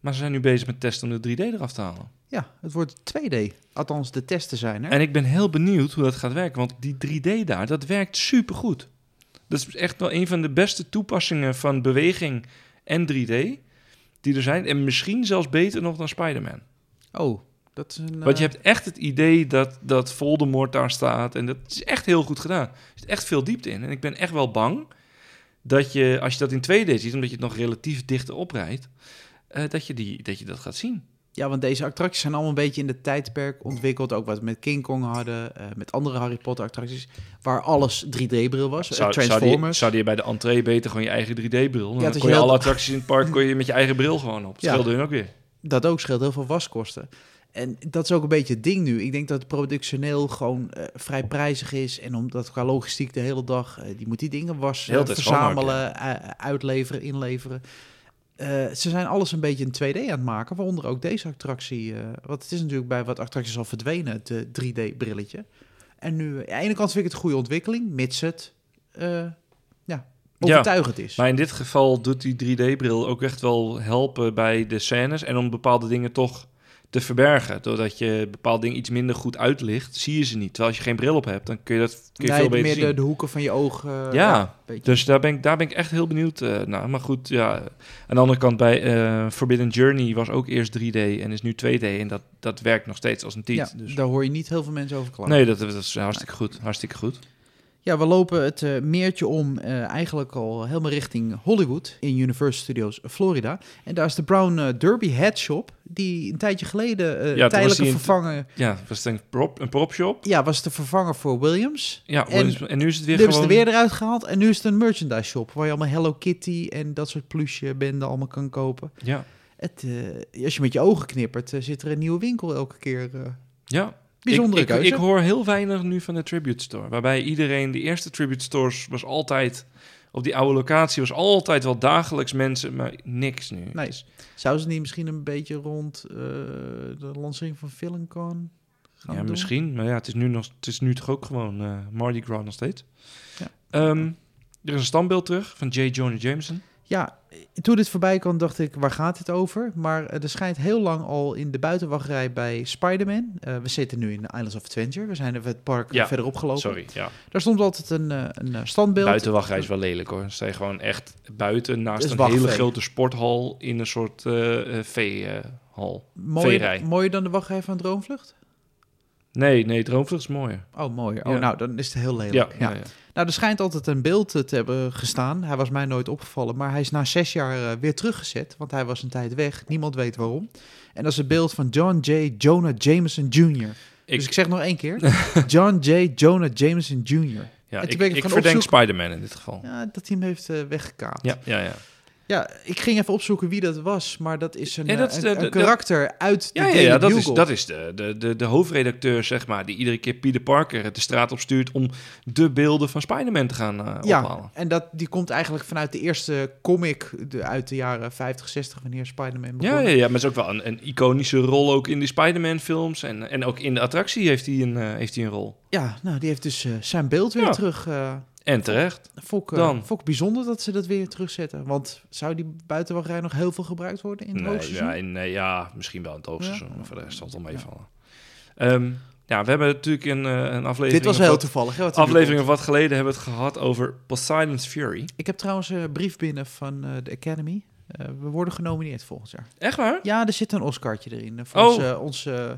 Maar ze zijn nu bezig met testen om de 3D eraf te halen.
Ja, het wordt 2D. Althans, de testen zijn er.
En ik ben heel benieuwd hoe dat gaat werken. Want die 3D daar, dat werkt supergoed. Dat is echt wel een van de beste toepassingen van beweging en 3D... die er zijn. En misschien zelfs beter nog dan Spider-Man.
Oh, dat is een...
Want je
eh,
hebt echt het idee dat, dat Voldemort daar staat. En dat is echt heel goed gedaan. Er zit echt veel diepte in. En ik ben echt wel bang dat je, als je dat in 2D ziet, omdat je het nog relatief dicht oprijdt, eh, dat, je die, dat je dat gaat zien.
Ja, want deze attracties zijn allemaal een beetje in het tijdperk ontwikkeld. Ook wat we met King Kong hadden, eh, met andere Harry Potter attracties. Waar alles 3D-bril was. Eh,
je,
Transformers.
zou je bij de entree beter gewoon je eigen 3D-bril? Dan
dat
kon
je
je
heel-
alle attracties in het park kon je met je eigen bril gewoon op. Dat
Ja.
scheelde hun ook weer.
dat ook scheelt heel veel waskosten. En dat is ook een beetje het ding nu. Ik denk dat het productioneel gewoon eh, vrij prijzig is. En omdat qua logistiek de hele dag, eh, die moet die dingen wassen,
Heel de tijd
verzamelen, eh, uitleveren, inleveren. Eh, ze zijn alles een beetje in 2D aan het maken, waaronder ook deze attractie. eh, want het is natuurlijk bij wat attracties al verdwenen, het 3D-brilletje. En nu, eh, aan de ene kant vind ik het een goede ontwikkeling, mits het eh, ja, overtuigend is.
Maar in dit geval doet die 3D-bril ook echt wel helpen bij de scènes en om bepaalde dingen toch te verbergen. Doordat je bepaalde dingen iets minder goed uitlicht, zie je ze niet. Terwijl als je geen bril op hebt, dan kun je dat kun je
Nee,
veel beter
meer
zien.
de, de hoeken van je ogen. eh,
ja,
een beetje.
dus daar ben, ik, daar ben ik echt heel benieuwd eh, naar. Maar goed, ja. Aan de andere kant, bij eh, Forbidden Journey was ook eerst 3D en is nu 2D. En dat, dat werkt nog steeds als een tiet.
ja,
dus.
Daar hoor je niet heel veel mensen over klagen.
Nee, dat, dat is hartstikke goed. Hartstikke goed.
Ja, we lopen het eh, meertje om eh, eigenlijk al helemaal richting Hollywood in Universal Studios Florida. En daar is de Brown eh, Derby Hat Shop, die een tijdje geleden eh
Ja, toen was
tijdelijk
die
een
in-
vervanger...
Ja, was het een prop, een propshop.
Ja, was de vervanger voor Williams.
Ja, en,
En-
nu is het weer
Die hebben ze
gewoon...
er weer eruit gehaald en nu is het een merchandise shop... waar je allemaal Hello Kitty en dat soort plusje benden allemaal kan kopen.
Ja,
Het, eh, als je met je ogen knippert, eh, zit er een nieuwe winkel elke keer. eh.
ja.
bijzondere
ik, ik,
keuze.
Ik hoor heel weinig nu van de Tribute Store. Waarbij iedereen, de eerste Tribute Stores was altijd... Op die oude locatie was altijd wel dagelijks mensen, maar niks nu.
Nee.
Dus-
Zou ze niet misschien een beetje rond eh, de lancering van Filmcon gaan
ja,
doen?
misschien. Maar ja, het is nu, nog, het is nu toch ook gewoon eh Mardi Gras nog steeds.
Ja.
Ehm, Er is een standbeeld terug van J. Jonah Jameson.
Ja, toen dit voorbij kwam dacht ik, waar gaat het over? Maar eh, er schijnt heel lang al in de buitenwachtrij bij Spider-Man. eh, we zitten nu in de Islands of Adventure. We zijn even het park
Ja,
verderop gelopen.
Sorry, ja.
Daar stond altijd een, eh, een eh, standbeeld.
Buitenwachtrij is wel lelijk hoor. Ze zijn gewoon echt buiten naast
Dus
een
wachtrij.
hele grote sporthal in een soort eh eh, veehal.
mooier,
veerij.
mooier dan de wachtrij van Droomvlucht?
nee, nee, Droomvlucht is mooier.
Oh, mooier. Oh,
Ja.
nou, dan is het heel
Ja,
lelijk.
ja. ja.
Nou, er schijnt altijd een beeld eh, te hebben gestaan. Hij was mij nooit opgevallen, maar hij is na zes jaar eh, weer teruggezet, want hij was een tijd weg. Niemand weet waarom. En dat is het beeld van John J. Jonah Jameson Jr.
Ik,
dus ik zeg nog één keer, John J. Jonah Jameson Jr.
ja,
toen
ik,
ben ik
ik
gaan
verdenk
opzoeken.
Spider-Man in dit geval. Ja,
Ja, dat hij hem heeft eh, weggekaapt.
ja, ja. ja.
Ja, ik ging even opzoeken wie dat was, maar dat is een,
Nee,
eh,
dat is
een-
de-
een
de-
karakter uit de
Ja, ja,
Daily
ja, dat is,
Bugle.
dat is de, de, de, de hoofdredacteur, zeg maar, die iedere keer Peter Parker de straat op stuurt om de beelden van Spider-Man te gaan eh,
ja,
ophalen.
en dat, die komt eigenlijk vanuit de eerste comic de, uit de jaren 50, 60, wanneer Spider-Man begon.
Ja, ja, ja, maar het is ook wel een, een iconische rol ook in de Spider-Man-films. En, en ook in de attractie heeft hij een, eh, heeft hij een rol.
Ja, nou, die heeft dus eh, zijn beeld weer
Ja.
terug. eh
En terecht.
vond, ik, eh,
Dan.
vond ik bijzonder dat ze dat weer terugzetten. Want zou die buitenwachtrij nog heel veel gebruikt worden in het
Nee,
hoogseizoen?
ja, nee, ja, misschien wel in het hoogseizoen, maar voor de rest zal het wel meevallen. Ja. ja, we hebben natuurlijk een, eh, een aflevering...
Dit was
of
heel
wat-
toevallig. Hè, wat er nu
Aflevering
komt.
of wat geleden hebben we het gehad over Poseidon's Fury.
Ik heb trouwens eh, een brief binnen van eh, de Academy. Eh, we worden genomineerd volgend jaar.
Echt waar?
Ja, er zit een Oscartje erin. eh, Voor
Oh.
ons, eh, ons eh,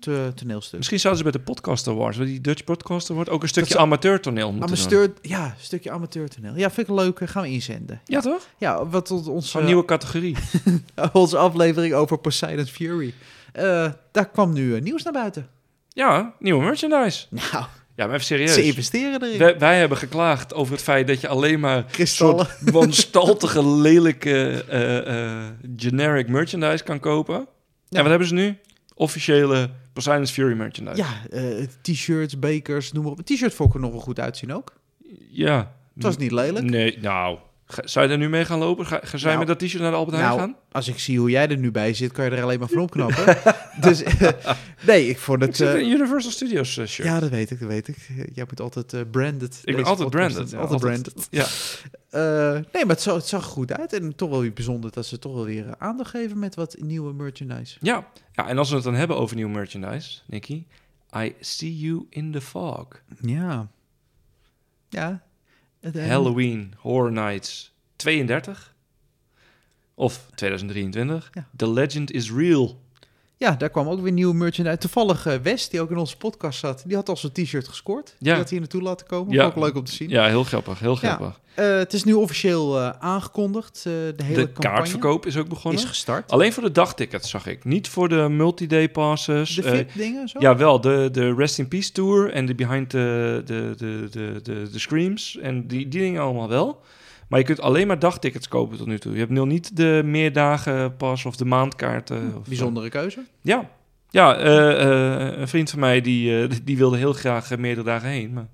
te- toneelstuk.
Misschien zouden ze bij de Podcast Awards, bij die Dutch Podcast Award, ook een stukje
ze-
amateurtoneel moeten doen.
Amateur, ja, een stukje amateurtoneel. Ja, vind ik leuk. eh, gaan we inzenden.
Ja, toch?
Ja, wat tot ons,
Zo'n
eh,
nieuwe categorie.
onze aflevering over Poseidon's Fury. Eh, daar kwam nu eh, nieuws naar buiten.
Ja, nieuwe merchandise.
Nou,
Ja, maar even serieus.
ze investeren erin.
Wij, wij hebben geklaagd over het feit dat je alleen maar
Kristallen.
soort wanstaltige, lelijke, eh, eh, generic merchandise kan kopen.
Ja.
En wat hebben ze nu? Officiële Poseidon's Fury merchandise.
Ja, eh, t-shirts, bekers, noem maar op. Een t-shirt vond ik er nog wel goed uitzien ook.
Ja.
Het was niet lelijk.
Nee, nou. Ga- Zou je daar nu mee gaan lopen? Ga, ga zij
Nou,
met dat t-shirt naar de Albert Heijn
nou,
gaan?
Als ik zie hoe jij er nu bij zit, kan je er alleen maar van opknappen. dus eh, nee, ik vond
Ik
het...
zit in
eh,
een Universal Studios eh, shirt. Ja.
ja, dat weet ik, dat weet ik. Jij moet altijd eh, branded.
ben
deze
altijd
podcast
branded,
doen.
ja,
altijd
altijd.
branded.
Ja.
Eh, nee, maar het zag, het zag er goed uit. En toch wel weer bijzonder dat ze toch wel weer eh, aandacht geven met wat nieuwe merchandise.
ja. en als we het dan hebben over nieuwe merchandise, Nicky. I see you in the fog.
Ja. Ja. Het, eh,
Halloween Horror Nights 32. Of 2023.
Ja.
The Legend is Real.
Ja, daar kwam ook weer nieuwe merchandise. Toevallig eh, Wes, die ook in onze podcast zat, die had al zijn t-shirt gescoord. Die
Ja.
had hier naartoe laten komen.
Ja.
Ook leuk om te zien.
Ja, heel grappig, heel grappig.
Eh, het is nu officieel eh, aangekondigd. Eh, de hele
de
campagne
kaartverkoop is ook begonnen.
is gestart.
Alleen voor de dagtickets zag ik. Niet voor de multi-day passes.
de
eh,
VIP-dingen zo?
Jawel, de, de Rest in Peace Tour en de Behind the, de, de, de, de, de Screams en die, die dingen allemaal wel. Maar je kunt alleen maar dagtickets kopen tot nu toe. Je hebt nog niet de meerdagen pas of de
Hm,
maandkaarten. Of,
Bijzondere keuze.
Ja, ja eh, eh, een vriend van mij die, eh, die wilde heel graag eh, meerdere dagen heen. Maar,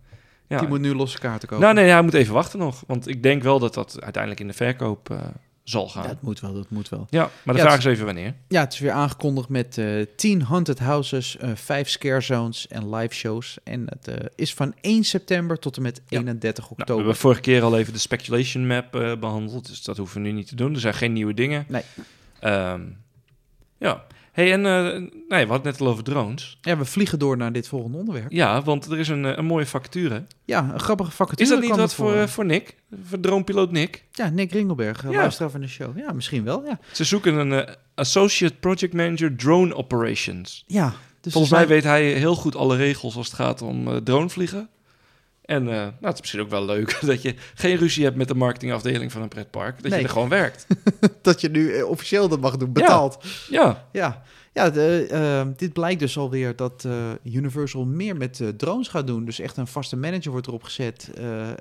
ja.
Die moet nu losse kaarten kopen.
nou, nee, hij moet even wachten nog. Want ik denk wel dat dat uiteindelijk in de verkoop eh, zal gaan.
Ja,
Ja,
dat moet wel, dat moet wel.
maar de
Ja,
vraag
het-
is even wanneer. Nou,
Ja, het is weer aangekondigd met eh 10 haunted houses, eh 5 scare zones en live shows. En het eh, is van 1 september tot en met
Ja.
31
Nou, we
oktober.
hebben vorige keer al even de speculation map eh, behandeld. Dus dat hoeven we nu niet te doen. Er zijn geen nieuwe dingen.
Nee.
Ehm, ja. Hey, en eh, nee, we hadden het net al over drones.
ja, we vliegen door naar dit volgende onderwerp.
Ja, want er is een, eh, een mooie facture.
Ja, een grappige vacature.
Is dat niet
kwam
wat
er
voor, eh, voor Nick? Voor dronepiloot Nick?
Ja, Nick Ringelberg, eh,
Ja.
luisteraar van de show. Ja, misschien wel, ja.
Ze zoeken een eh, Associate Project Manager Drone Operations.
Ja, dus
Volgens
er
mij
zijn-
weet hij heel goed alle regels als het gaat om eh, dronevliegen. En eh, nou, het is misschien ook wel leuk dat je geen ruzie hebt met de marketingafdeling van een pretpark. Dat
Nee.
je er gewoon werkt.
dat je nu eh, officieel dat mag doen,
Ja.
betaald. Ja,
ja,
ja. de, eh, dit blijkt dus alweer dat eh, Universal meer met eh, drones gaat doen. Dus echt een vaste manager wordt erop gezet. Eh, eh,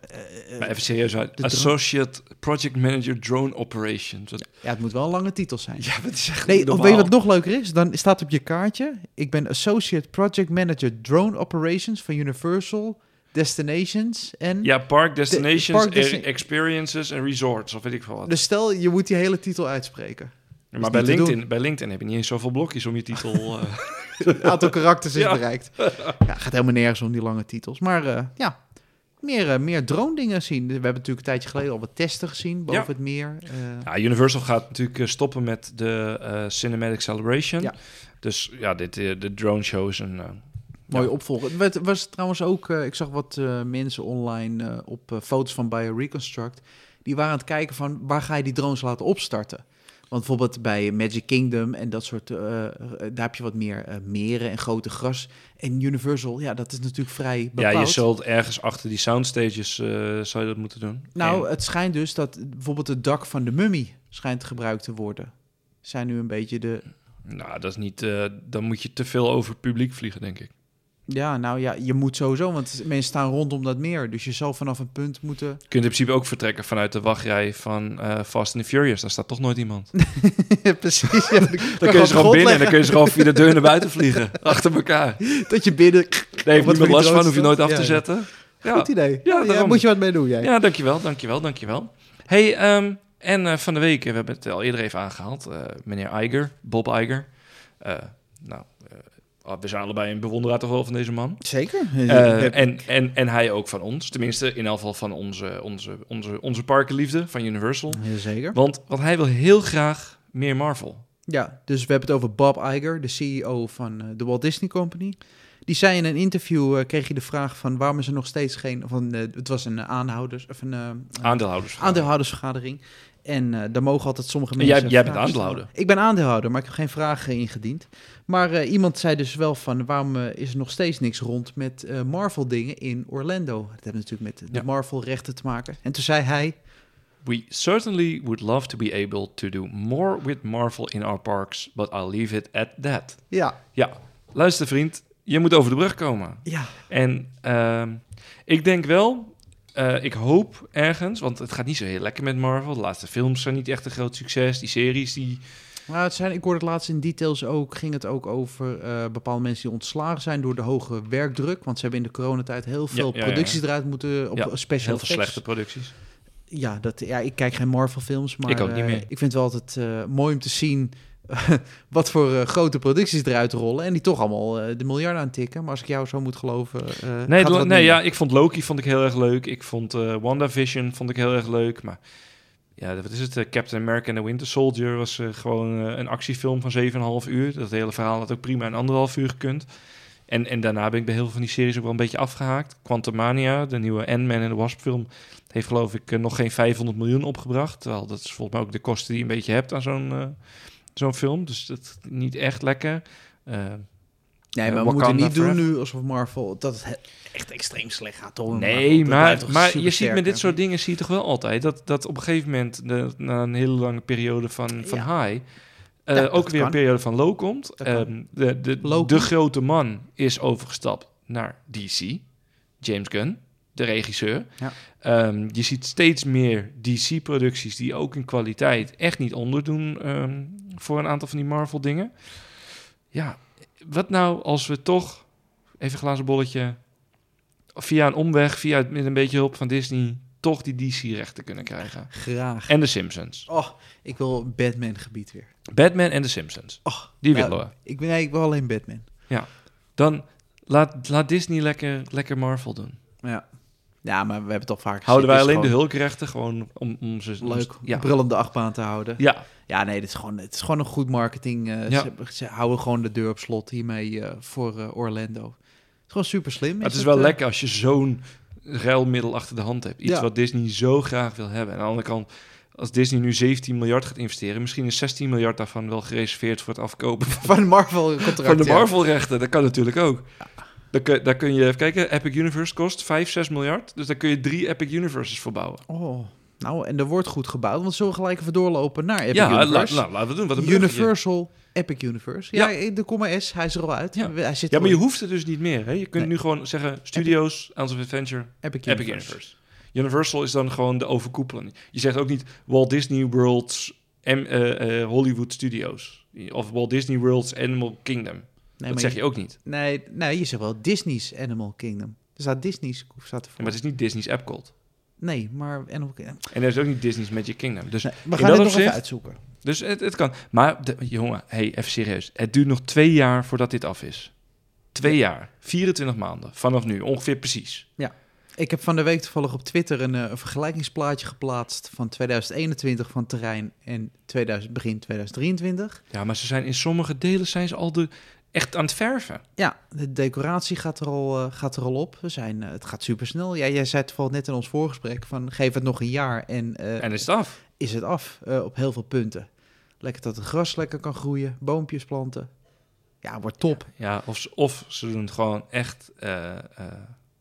eh,
maar even serieus. uit.
de
Associate Project Manager Drone Operations. Dat,
ja, het moet wel een lange titel zijn.
ja, dat is echt niet
Nee, of
normaal.
weet je wat nog leuker is? Dan staat op je kaartje: ik ben Associate Project Manager Drone Operations van Universal Destinations. En
Ja, Park Destinations,
park desti-
e- Experiences en Resorts. Of weet ik veel wat.
dus stel je moet die hele titel uitspreken.
maar
niet
bij
te
LinkedIn, bij LinkedIn heb je niet eens zoveel blokjes om je titel... eh,
Een aantal karakters is
Ja.
bereikt. Ja, gaat helemaal nergens om die lange titels. Maar eh, ja, meer, eh, meer drone-dingen zien. We hebben natuurlijk een tijdje geleden al wat testen gezien boven
Ja.
het meer. eh.
Ja, Universal gaat natuurlijk eh, stoppen met de eh, Cinematic Celebration.
Ja.
Dus ja, dit, eh, de drone show is een... eh,
Mooi
ja.
opvolgen. Het werd- was trouwens ook, eh, ik zag wat eh, mensen online eh, op eh, foto's van BioReconstruct. Die waren aan het kijken van waar ga je die drones laten opstarten? Want bijvoorbeeld bij Magic Kingdom en dat soort, eh, eh, daar heb je wat meer eh, meren en grote gras. En Universal, ja, dat is natuurlijk vrij bepaald.
Ja, je zult ergens achter die soundstages eh, zou je dat moeten doen.
Nou,
En-
het schijnt dus dat bijvoorbeeld het dak van de mummy schijnt gebruikt te worden. Zijn nu een beetje de...
nou, dat is niet... eh, dan moet je te veel over het publiek vliegen, denk ik.
Ja, nou ja, je moet sowieso, want mensen staan rondom dat meer. Dus je zal vanaf een punt moeten...
Je kunt in principe ook vertrekken vanuit de wachtrij van eh, Fast and the Furious. Daar staat toch nooit iemand.
Precies, ja,
Dan kun je ze gewoon
gewoon God
binnen en
leggen.
dan kun je ze gewoon via de deur naar buiten vliegen. Achter elkaar. Daar
Dat je binnen...
heeft
Wat voor
niemand
die
last van,
drones
hoef je nooit
dan?
af te
Ja, ja.
zetten. Ja,
Goed idee. Oh,
Ja,
Ja,
daarom.
moet je wat mee doen, jij.
ja dankjewel, dankjewel, dankjewel. hey, ehm, en eh, van de week, eh, we hebben het al eerder even aangehaald, eh, meneer Iger, Bob Iger. Eh, nou, eh, we zijn allebei een bewonderaar toch wel van deze man.
Zeker.
Eh, en, en, en hij ook van ons. Tenminste, in elk geval van onze, onze, onze, onze parkenliefde van Universal.
Zeker.
Want, want hij wil heel graag meer Marvel.
Ja, dus we hebben het over Bob Iger, de CEO van eh, de Walt Disney Company. Die zei in een interview, eh, kreeg je de vraag van waarom is er nog steeds geen... Van, eh, het was een eh, aanhouders... Of een eh,
Aandeelhouders.
aandeelhoudersvergadering. En eh, daar mogen altijd sommige
En
mensen...
jij- jij bent
vragen stellen.
aandeelhouder.
Ik ben aandeelhouder, maar ik heb geen vragen ingediend. Maar eh, iemand zei dus wel van... waarom eh, is er nog steeds niks rond met eh, Marvel-dingen in Orlando? Dat hebben natuurlijk met de
Ja.
Marvel-rechten te maken. En toen zei hij...
We certainly would love to be able to do more with Marvel in our parks, but I'll leave it at that.
Ja,
Ja, luister vriend, je moet over de brug komen.
ja.
En ehm, ik denk wel, eh, ik hoop ergens, want het gaat niet zo heel lekker met Marvel. De laatste films zijn niet echt een groot succes. Die series die
Nou, het zijn, ik hoorde het laatst in details ook, ging het ook over eh, bepaalde mensen die ontslagen zijn door de hoge werkdruk. Want ze hebben in de coronatijd heel veel
ja, ja, ja.
producties eruit moeten op
Ja,
special
heel veel
effects.
slechte producties.
Ja, dat, ja, ik kijk geen Marvel films, maar
Ik ook niet
eh,
meer.
ik vind het wel altijd eh, mooi om te zien wat voor eh, grote producties eruit rollen. En die toch allemaal eh, de miljarden aantikken. Maar als ik jou zo moet geloven, eh, gaat
Nee,
er
doe-
wat
nee
minder.
ja, ik vond Loki vond ik heel erg leuk. Ik vond eh WandaVision vond ik heel erg leuk. Maar ja, wat is het? eh, Captain America and the Winter Soldier was eh, gewoon eh, een actiefilm van 7,5 uur. Dat hele verhaal had ook prima in anderhalf uur gekund. En, en daarna ben ik bij heel veel van die series ook wel een beetje afgehaakt. Quantumania, de nieuwe Ant-Man en de Wasp film, heeft geloof ik eh, nog geen 500 miljoen opgebracht. Terwijl dat is volgens mij ook de kosten die je een beetje hebt aan zo'n eh, zo'n film. Dus dat is niet echt lekker. Eh,
Nee, maar
Eh,
we moeten
Wakanda
niet doen
Forever.
nu alsof Marvel dat het he- echt extreem slecht gaat. Hoor. Marvel,
Nee,
dat
maar,
blijft toch
maar je ziet
supersterk,
met dit
hè?
soort dingen zie je toch wel altijd dat, dat op een gegeven moment, de- na een hele lange periode van, van high, eh,
Ja, dat
ook weer
kan.
een periode van low komt.
Dat kan.
Ehm, de, de,
Low
de
komt.
grote man is overgestapt naar DC, James Gunn, de regisseur.
Ja.
Ehm, je ziet steeds meer DC-producties die ook in kwaliteit echt niet onderdoen ehm, voor een aantal van die Marvel-dingen. Ja, wat nou als we toch even een glazen bolletje via een omweg, via het- met een beetje hulp van Disney, toch die DC-rechten kunnen krijgen.
Graag.
En de Simpsons.
Oh, ik wil Batman gebied weer.
Batman en de Simpsons.
Oh,
Die
nou,
willen we.
Ik, ben, nee, ik wil alleen Batman.
Dan laat, laat Disney lekker, lekker Marvel doen.
Ja. ja, maar we hebben het al vaak
Houden wij
gezien.
alleen
Het
de
is
hulkrechten gewoon om, om ze... om-
gewoon Leuk,
Ja.
brullende achtbaan te houden.
ja.
Ja, nee, dit is gewoon, het is gewoon een goed marketing. eh,
Ja.
ze, hebben- ze houden gewoon de deur op slot hiermee eh, voor eh, Orlando. Het eh, is gewoon super slim.
Maar het is wel lekker als je zo'n ruilmiddel achter de hand hebt. Iets
Ja.
wat Disney zo graag wil hebben. En aan de andere kant, als Disney nu 17 miljard gaat investeren... misschien is 16 miljard daarvan wel gereserveerd voor het afkopen
Van Marvel contract.
Van de
ja.
Marvel-rechten, dat kan natuurlijk ook. Daar kun, daar kun je even kijken. Epic Universe kost 5, 6 miljard. Dus daar kun je drie Epic Universes voor bouwen.
Oh, nou, en er wordt goed gebouwd. Want zullen we gelijk even doorlopen naar Epic
ja, la-
Universe?
nou, laten we doen. Wat een bruggetje.
Universal, Epic Universe. Ja, eh, de comma S, hij is er al uit.
Ja.
Hij zit
Ja, maar je
al-
hoeft het dus niet meer. Hè? Je kunt
Nee.
nu gewoon zeggen: Studios, Hounds of Adventure,
Epic
Epic Universe. Universal is dan gewoon de overkoepelende. Je zegt ook niet Walt Disney World's en eh, eh, Hollywood Studios. Of Walt Disney World's Animal Kingdom. dat
Nee, maar
zeg je ook niet.
Nee, nee, je zegt wel Disney's Animal Kingdom. Er staat Disney's staat
Ja,
ervoor.
maar het is niet Disney's Epcot.
Nee, maar Animal Kingdom.
En er is ook niet Disney's Magic Kingdom. Dus
Nee, we
in
gaan
dat
het nog
opzicht-
even uitzoeken.
Dus het, het kan. Maar, de, jongen, hey, even serieus. Het duurt nog twee jaar voordat dit af is. Twee jaar. 24 maanden. Vanaf nu. Ongeveer precies.
Ja. Ik heb van de week toevallig op Twitter een, eh, een vergelijkingsplaatje geplaatst van 2021 van terrein en 2000, begin 2023.
Ja, maar ze zijn in sommige delen zijn ze al de, echt aan het verven.
Ja, de decoratie gaat er al, eh, gaat er al op. We zijn, eh, het gaat supersnel. Ja, jij zei het vooral net in ons voorgesprek van geef het nog een jaar en, eh,
En is het af.
is het af eh, op heel veel punten. Lekker dat het gras lekker kan groeien, boompjes planten. Ja, wordt top.
Ja, of, ze- of ze doen het gewoon echt. eh, eh,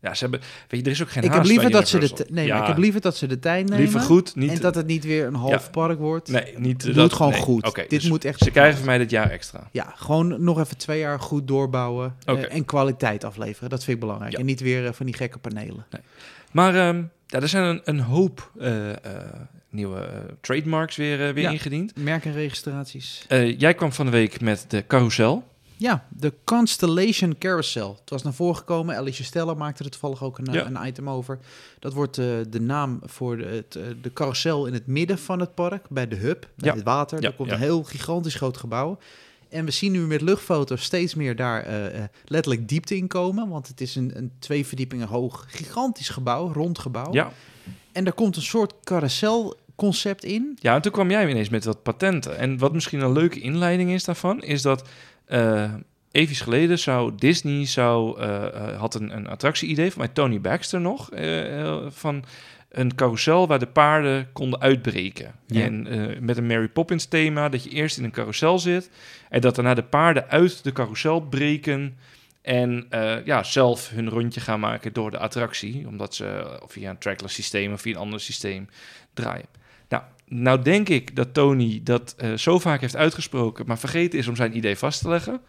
ja, ze hebben. Weet je, er is ook geen
ik, heb
haast
liever
bij
dat ze de,
Universal.
t- nee,
Ja,
maar ik heb liever dat ze de tijd nemen.
liever goed. Niet,
en dat het niet weer een half
Ja.
park wordt.
nee, niet
Doe
dat,
het gewoon
nee.
goed.
Oké,
Dit
dus
moet echt.
Ze krijgen van mij dit jaar extra.
Ja, gewoon nog even twee jaar goed doorbouwen. eh,
Oké.
en kwaliteit afleveren. Dat vind ik belangrijk.
Ja.
En niet weer eh, van die gekke panelen.
Maar ehm, ja, er zijn een, een hoop eh, eh, nieuwe eh, trademarks weer, eh, weer
Ja.
ingediend.
Merkenregistraties.
Eh, jij kwam van de week met de carousel.
Ja, de Constellation Carousel. Het was naar voren gekomen. Alicia Stella maakte er toevallig ook een, eh,
Ja.
een item over. Dat wordt eh, de naam voor de, het, eh, de carousel in het midden van het park. Bij de hub, bij
Ja.
het water.
Ja,
Daar komt
ja.
een heel gigantisch groot gebouw. En we zien nu met luchtfoto's steeds meer daar eh, eh, letterlijk diepte in komen. Want het is een, een twee verdiepingen hoog gigantisch gebouw, rond gebouw.
Ja.
En daar komt een soort carouselconcept in.
ja, en toen kwam jij ineens met wat patenten. En wat misschien een leuke inleiding is daarvan, is dat eh even geleden zou Disney zou, eh, eh, had een, een attractie-idee van mij, Tony Baxter nog, eh, eh, van een carousel waar de paarden konden uitbreken.
Ja.
En eh, met een Mary Poppins thema, dat je eerst in een carousel zit en dat daarna de paarden uit de carousel breken. En eh, ja, zelf hun rondje gaan maken door de attractie. Omdat ze eh, via een trackless systeem of via een ander systeem draaien. Nou, nou denk ik dat Tony dat eh, zo vaak heeft uitgesproken, maar vergeten is om zijn idee vast te leggen.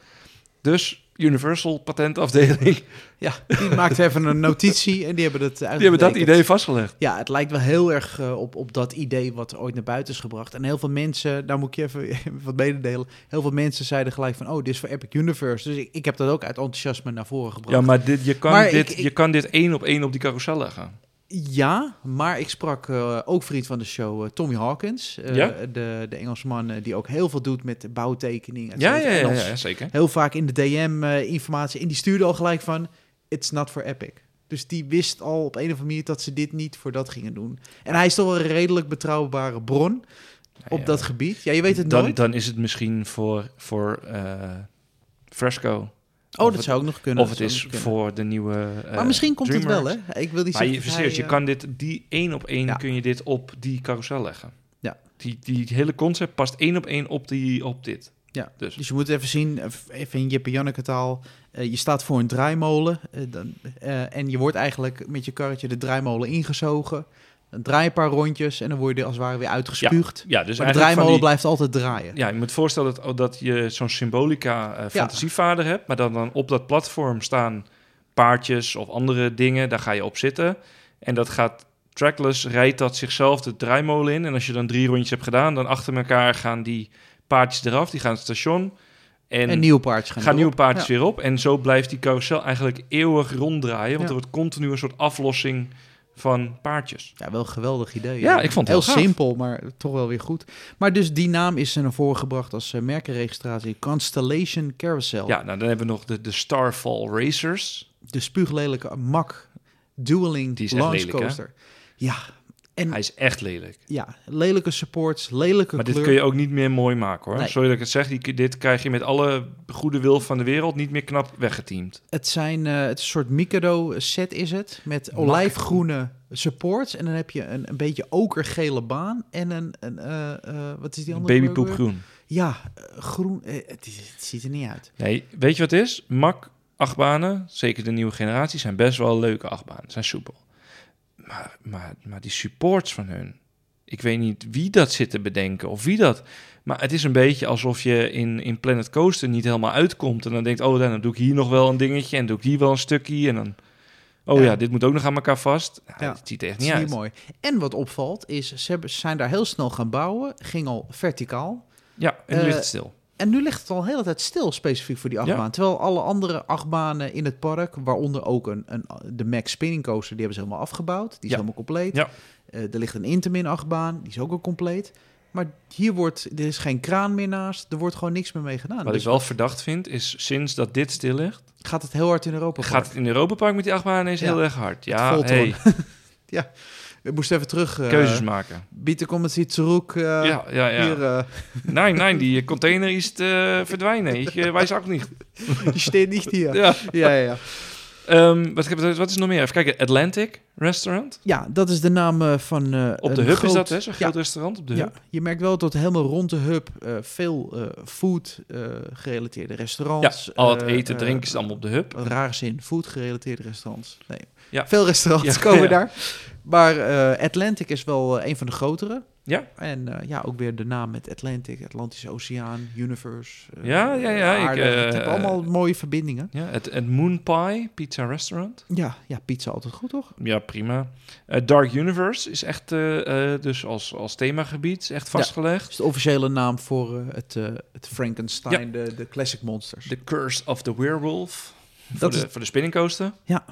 Dus Universal patentafdeling,
Ja, die maakt even een notitie en die hebben het
die hebben dat
uitgetekend.
idee vastgelegd.
Ja, het lijkt wel heel erg eh, op, op dat idee wat ooit naar buiten is gebracht. En heel veel mensen, daar moet ik je even wat mededelen. Heel veel mensen zeiden gelijk van, oh, dit is voor Epic Universe. Dus ik, ik heb dat ook uit enthousiasme naar voren gebracht.
Ja, maar, dit, je, kan
Maar
dit,
ik- ik-
je kan dit één op één op die carousel leggen.
Ja, maar ik sprak eh, ook vriend van de show, eh, Tommy Hawkins. eh,
Ja?
de, de Engelsman eh, die ook heel veel doet met de bouwtekening. et
Ja, ja,
cetera.
ja, ja,
En ons
ja, zeker.
Heel vaak in de DM eh, informatie. En die stuurde al gelijk van, it's not for Epic. Dus die wist al op een of andere manier dat ze dit niet voor dat gingen doen. En hij is toch wel een redelijk betrouwbare bron. op
Ja,
dat gebied. Ja, je weet het
dan,
nooit.
dan is het misschien voor, voor eh, Fresco.
oh,
of
dat
het-
zou ook nog kunnen.
of het
dat zou
is
ook nog kunnen.
voor de nieuwe. eh,
maar misschien komt het wel,
DreamWorks.
hè? Ik wil niet
Maar
zeggen...
je,
dat
serieus,
hij,
je
eh,
kan dit, die één op één
Ja.
kun je dit op die carousel leggen.
Ja.
Die, die hele concept past één op één op, die, op dit.
Ja.
Dus
Dus je moet even zien, even in Jip en Janneke taal. eh, je staat voor een draaimolen eh, dan, eh, en je wordt eigenlijk met je karretje de draaimolen ingezogen. Dan draai je een paar rondjes en dan word je als het ware weer uitgespuugd.
ja, dus
maar de
eigenlijk van
draaimolen
die,
blijft altijd draaien.
Ja, je moet voorstellen dat, oh, dat je zo'n symbolica eh, fantasievader hebt, maar dan, dan op dat platform staan paardjes of andere dingen, daar ga je op zitten. En dat gaat trackless, rijdt dat zichzelf de draaimolen in. En als je dan drie rondjes hebt gedaan, dan achter elkaar gaan die paardjes eraf, die gaan het station. En,
en nieuwe paardjes gaan,
gaan
erop.
nieuwe paardjes weer op. En zo blijft die carousel eigenlijk eeuwig ronddraaien, want
Ja.
er wordt continu een soort aflossing van paardjes.
Ja, wel een geweldig idee.
Ja,
hè?
ik vond het
heel
heel gaaf.
simpel, maar toch wel weer goed. Maar dus die naam is er naar voren gebracht als eh, merkenregistratie Constellation Carousel.
Ja, nou dan hebben we nog de, de Starfall Racers.
De spuuglelijke mak dueling
Die is echt
launch
lelijk, hè?
coaster. Ja, en
Hij is echt lelijk.
ja, lelijke supports, lelijke
Maar dit
kleur.
kun je ook niet meer mooi maken hoor.
Nee.
Sorry dat ik het zeg. Die, dit krijg je met alle goede wil van de wereld niet meer knap weggeteamd.
Het zijn eh, het is een soort micro set is het met olijfgroene supports en dan heb je een, een beetje okergele baan en een, een eh, eh, wat is die andere kleur ook weer?
Babypoepgroen.
Ja, eh, groen. eh, het, is- het ziet er niet uit.
Nee, weet je wat het is? Mak achtbanen, zeker de nieuwe generatie, zijn best wel leuke achtbanen. Zijn soepel. Maar, maar, maar die supports van hun. Ik weet niet wie dat zit te bedenken of wie dat. Maar het is een beetje alsof je in, in Planet Coaster niet helemaal uitkomt. En dan denkt, oh dan doe ik hier nog wel een dingetje. En doe ik hier wel een stukje. En dan, oh ja,
Ja.
dit moet ook nog aan elkaar vast. Nou,
Ja.
Het ziet er echt
Het
niet
is
uit.
niet mooi. En wat opvalt is, ze hebben- ze zijn daar heel snel gaan bouwen, ging al verticaal.
Ja, en nu
Eh,
ligt het stil.
En nu ligt het al de hele tijd stil, specifiek voor die achtbaan. Terwijl alle andere achtbanen in het park, waaronder ook een, een, de Max Spinning Coaster, die hebben ze helemaal afgebouwd. Die is
Ja.
helemaal compleet.
Ja.
Eh, er ligt een Intamin achtbaan, die is ook al compleet. Maar hier wordt, er is geen kraan meer naast, er wordt gewoon niks meer mee gedaan.
Wat ik
Dus
wel verdacht vind, is sinds dat dit stil ligt,
gaat het heel hard in Europa.
gaat het in Europa Park met die achtbaan ineens
Ja.
heel erg hard.
vol
Ja,
te
hey,
We moesten even terug. eh,
keuzes maken.
Bieten komt het iets terug. eh,
ja, ja, ja.
Hier, eh,
Nee, nee, die container is te verdwijnen. Ik eh, weet ook niet.
die steht niet hier. Ja,
Ja.
ja, ja.
Ehm, wat, heb- wat is er nog meer? Even kijken. Atlantic Restaurant.
ja dat is de naam eh, van. eh,
Op de
een
Hub
groot-
is dat, hè? Zo'n
ja,
groot restaurant op de
Ja,
Hub.
je merkt wel dat helemaal rond de hub eh, veel eh, food eh, gerelateerde
Ja,
restaurants.
al het
eh,
eten,
eh,
drinken is allemaal op de Hub.
een raar zin, food gerelateerde restaurants. Nee,
Ja.
veel restaurants
Ja,
komen
ja.
daar. Maar eh, Atlantic is wel eh, een van de grotere.
Ja.
En eh, ja, ook weer de naam met Atlantic, Atlantische Oceaan, Universe. eh,
Ja, ja, ja, ik,
Aarde.
eh,
het heeft allemaal mooie verbindingen.
Ja, het, het Moon Pie Pizza Restaurant.
Ja, ja, pizza altijd goed, toch?
Ja, prima. Eh, Dark Universe is echt, eh, eh, dus als, als themagebied, is echt vastgelegd.
Dat is de officiële naam voor eh, het, eh, het Frankenstein, de, de classic monsters.
The Curse of the Werewolf. Voor
Dat
de,
is-
voor de spinningcoaster.
Ja.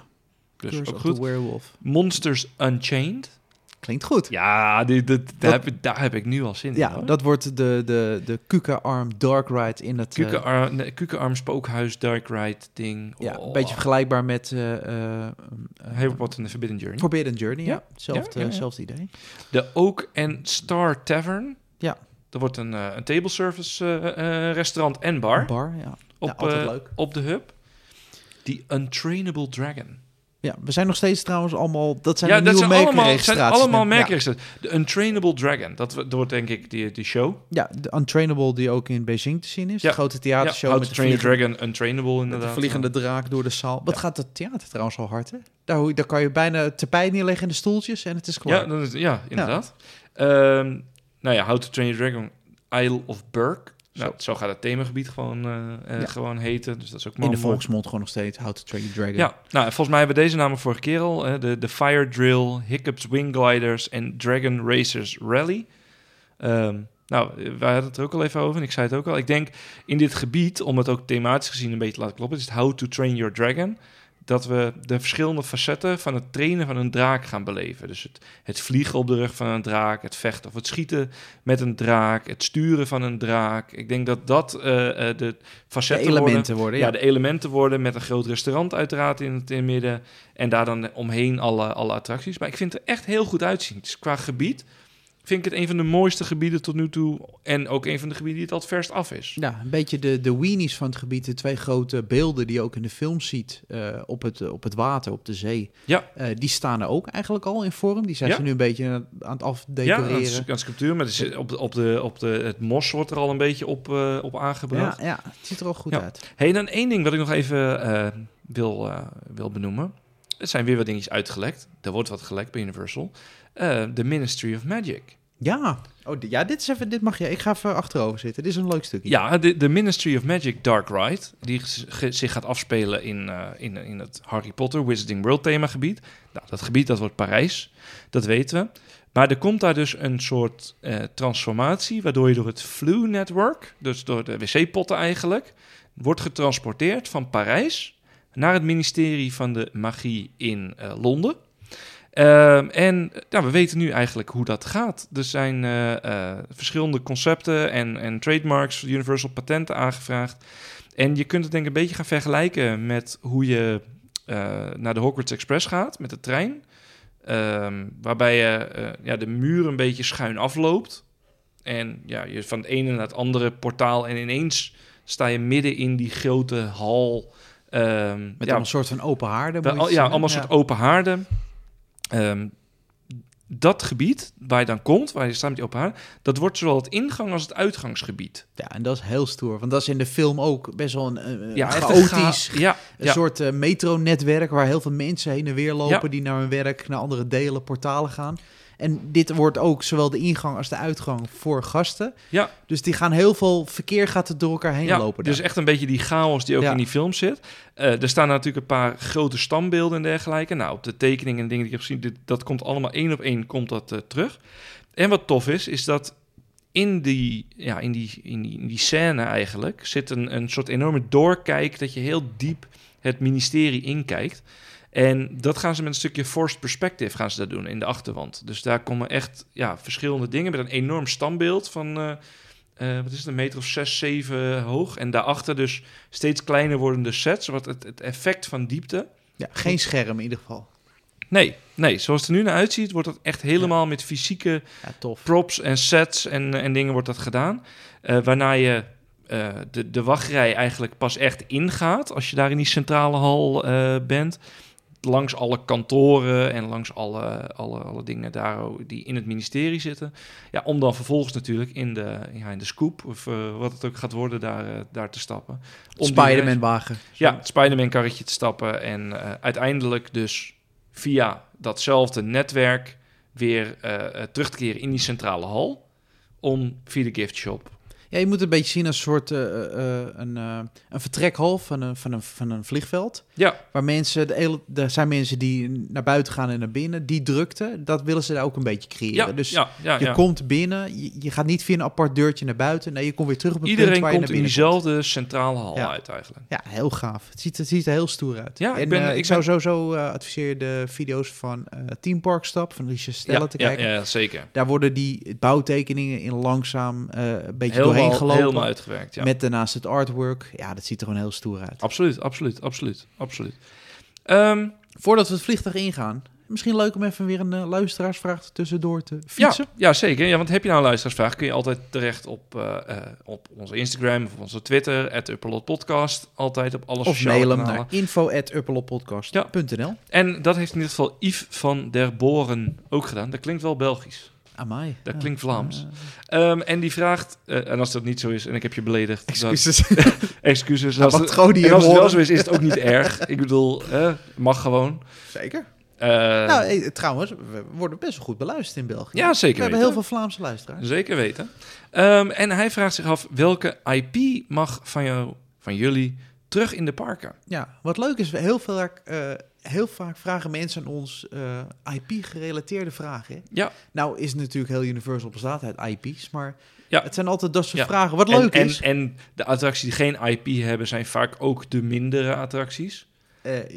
Dus
Curse
ook
of
goed.
the werewolf.
Monsters Unchained.
Klinkt goed.
Ja, die, die- daar,
Dat-
heb, ik- daar heb ik nu al zin in.
Ja,
hoor.
dat wordt de, de, de Kuka-arm Dark Ride in het... eh,
Kukenarm, nee, Kukenarm Spookhuis Dark Ride ding.
ja,
Oh.
een beetje vergelijkbaar met eh, eh, eh,
Harry Potter en de Forbidden Journey.
Forbidden Journey, ja.
Ja.
Hetzelfde
Ja, ja, ja.
hetzelfde idee.
De Oak and Star Tavern.
Ja.
Er wordt een, eh, een table service eh, eh, restaurant en bar
Een bar, ja.
op,
ja, altijd
eh,
leuk.
op de hub. Die Untrainable Dragon.
Ja, we zijn nog steeds trouwens allemaal... Dat zijn
ja,
de
dat
nieuwe
zijn allemaal, het zijn
merkenregistraties.
allemaal
Ja.
merkregistraties. De Untrainable Dragon. Dat, wordt- dat wordt denk ik die, die show.
Ja, de Untrainable die ook in Beijing te zien is.
Ja.
De grote theatershow
How
met
to
de
Train Your
vliegende-
Dragon Untrainable
Met
inderdaad.
de vliegende draak door de zaal. Wat gaat dat theater trouwens al hard, hè? Daar, hoe- daar kan je bijna het tapijt neerleggen in de stoeltjes en het is klaar.
Ja, dan is, ja inderdaad. Ehm, nou ja, How to Train Your Dragon, Isle of Burke. Nou,
Zo.
zo. gaat het themagebied gewoon, eh, eh,
Ja.
gewoon heten. Dus dat is ook
in
mooi.
de volksmond gewoon nog steeds How to Train Your Dragon.
Ja, nou, en volgens mij hebben we deze namen vorige keer al. hè. de, de Fire Drill, Hiccups Wing Gliders en Dragon Racers Rally. Ehm, nou, eh, wij hadden het er ook al even over en ik zei het ook al. Ik denk in dit gebied, om het ook thematisch gezien een beetje te laten kloppen, is het How to Train Your Dragon. Dat we de verschillende facetten van het trainen van een draak gaan beleven. Dus het, het vliegen op de rug van een draak, het vechten of het schieten met een draak, het sturen van een draak. Ik denk dat dat eh, eh, de
de
facetten worden
elementen worden,
ja.
ja.
de elementen worden met een groot restaurant uiteraard in het in het midden. En daar dan omheen alle, alle attracties. Maar ik vind het er echt heel goed uitzien. Dus qua gebied vind ik het een van de mooiste gebieden tot nu toe. En ook een van de gebieden die het al het verst af is.
Ja, een beetje de, de weenies van het gebied. De twee grote beelden die je ook in de film ziet eh, op, het, op het water, op de zee.
Ja.
Eh, die staan er ook eigenlijk al in vorm. Die zijn
Ja.
ze nu een beetje aan, aan het
Ja, aan,
afdecoreren.
het- aan het sculptuur. Maar het is eh, op, de, op, de, op de, het mos wordt er al een beetje op, eh, op aangebracht.
ja, ja, het ziet er al goed
Ja.
uit.
hey, dan één ding wat ik nog even eh, wil, eh, wil benoemen. Er zijn weer wat dingetjes uitgelekt. Er wordt wat gelekt bij Universal. Eh, The Ministry of Magic.
Ja, oh, di- ja dit, is even, dit mag je. Ik ga even achterover zitten. Dit is een leuk stukje.
Ja, de, de Ministry of Magic Dark Ride, die g- ge- zich gaat afspelen in, eh, in, in het Harry Potter Wizarding World themagebied. Nou, dat gebied dat wordt Parijs, dat weten we. Maar er komt daar dus een soort eh, transformatie, waardoor je door het Flu Network, dus door de wc-potten eigenlijk, wordt getransporteerd van Parijs naar het ministerie van de Magie in eh, Londen. Ehm, en ja, we weten nu eigenlijk hoe dat gaat. Er zijn eh, eh, verschillende concepten en, en trademarks, Universal patenten aangevraagd. En je kunt het denk ik een beetje gaan vergelijken met hoe je eh, naar de Hogwarts Express gaat met de trein. Ehm, waarbij je eh, ja, de muur een beetje schuin afloopt. En ja, je van het ene naar het andere portaal. En ineens sta je midden in die grote hal. ehm,
Met
ja,
een soort van open haarden.
wel,
moet
al-
je het
ja,
zien, hè?
allemaal soort open haarden. Ehm, dat gebied waar je dan komt, waar je staat met die open haarden, dat wordt zowel het ingang als het uitgangsgebied.
Ja, en dat is heel stoer. Want dat is in de film ook best wel een, eh,
Ja, echt een
chaotisch,
ga- ja,
Een
ja.
soort eh, metronetwerk waar heel veel mensen heen en weer lopen
Ja.
die naar hun werk, naar andere delen, portalen gaan. En dit wordt ook zowel de ingang als de uitgang voor gasten.
Ja.
Dus die gaan heel veel verkeer gaat er door elkaar heen
ja,
lopen.
Dus
daar.
echt een beetje die chaos die ook
Ja.
in die film zit. Eh, er staan natuurlijk een paar grote stambeelden en dergelijke. Nou, op de tekeningen en dingen die ik heb gezien, dit, dat komt allemaal één op één komt dat eh, terug. En wat tof is, is dat in die, ja, in die, in die, in die scène eigenlijk zit een, een soort enorme doorkijk dat je heel diep het ministerie inkijkt. En dat gaan ze met een stukje forced perspective gaan ze dat doen in de achterwand. Dus daar komen echt ja, verschillende dingen met een enorm standbeeld van... eh, eh, wat is het, een meter of zes, zeven hoog. En daarachter dus steeds kleiner wordende sets. Wat het, het effect van diepte...
Ja, geen scherm in ieder geval.
Nee, nee, zoals het er nu naar uitziet, wordt dat echt helemaal met fysieke
Ja, tof.
props en sets en, eh, en dingen wordt dat gedaan. Eh, waarna je eh, de, de wachtrij eigenlijk pas echt ingaat als je daar in die centrale hal eh, bent. Langs alle kantoren en langs alle, alle, alle dingen daar die in het ministerie zitten. Ja, om dan vervolgens natuurlijk in de, ja, in de scoop of eh, wat het ook gaat worden daar, eh, daar te stappen. Om die
Spider-Man wagen.
ja, het Spider-Man-karretje te stappen. En eh, uiteindelijk dus via datzelfde netwerk weer eh, eh, terug te keren in die centrale hal. Om via de gift shop.
Ja, je moet het een beetje zien als een soort eh, eh, een, eh, een vertrekhal van een, van, een, van een vliegveld.
Ja,
Waar mensen, de hele, er zijn mensen die naar buiten gaan en naar binnen. Die drukte, dat willen ze daar ook een beetje creëren.
ja,
dus
ja, ja,
je
ja.
komt binnen, je, je gaat niet via een apart deurtje naar buiten. Nee, je komt weer terug op het
Iedereen
punt waar je
komt
naar
in
binnen
diezelfde centrale hal
Ja.
uit eigenlijk.
Ja, heel gaaf. Het ziet, het ziet er heel stoer uit.
Ja, ik
en,
ben-
eh,
ik
ik zou sowieso eh, adviseren de video's van eh Team Park Stap van Richard Stella
ja,
te kijken.
Ja, ja, zeker.
Daar worden die bouwtekeningen in langzaam eh, een beetje
Helemaal,
doorheen gelopen.
helemaal uitgewerkt, ja.
Met daarnaast het artwork. Ja, dat ziet er gewoon heel stoer uit.
Absoluut, absoluut, absoluut, absoluut. Ehm,
Voordat we het vliegtuig ingaan, misschien leuk om even weer een eh, luisteraarsvraag tussendoor te fietsen.
Ja, ja zeker. Ja, want heb je nou een luisteraarsvraag, kun je altijd terecht op, eh, eh, op onze Instagram of op onze Twitter, at Podcast. Altijd op alle
of
sociale
mail hem
kanalen.
naar info.uppeloppodcast.nl.
En dat heeft in ieder geval Yves van der Boren ook gedaan. Dat klinkt wel Belgisch.
Amai.
Dat
Ja.
klinkt Vlaams.
Eh,
Ehm, en die vraagt, eh, en als dat niet zo is en ik heb je beledigd.
excuses.
Dan, excuses.
Ja,
Als
wat
het,
gewoon die
en als het wel
horen.
zo is, is het ook niet erg. Ik bedoel, eh, mag gewoon.
Zeker.
Eh,
nou, eh, trouwens, we worden best wel goed beluisterd in België.
ja, zeker
we hebben
weten.
heel veel Vlaamse luisteraars.
Zeker weten. Ehm, en hij vraagt zich af, welke IP mag van jou, van jullie, terug in de parken?
Ja, wat leuk is, we heel, veel, eh, heel vaak vragen mensen aan ons eh, IP-gerelateerde vragen. hè?
Ja.
Nou is het natuurlijk heel universal bestaat uit IP's, maar
Ja.
het zijn altijd dat soort
Ja.
vragen. Wat
En-
leuk
en,
is,
En, de attracties die geen IP hebben, zijn vaak ook de mindere attracties.
eh,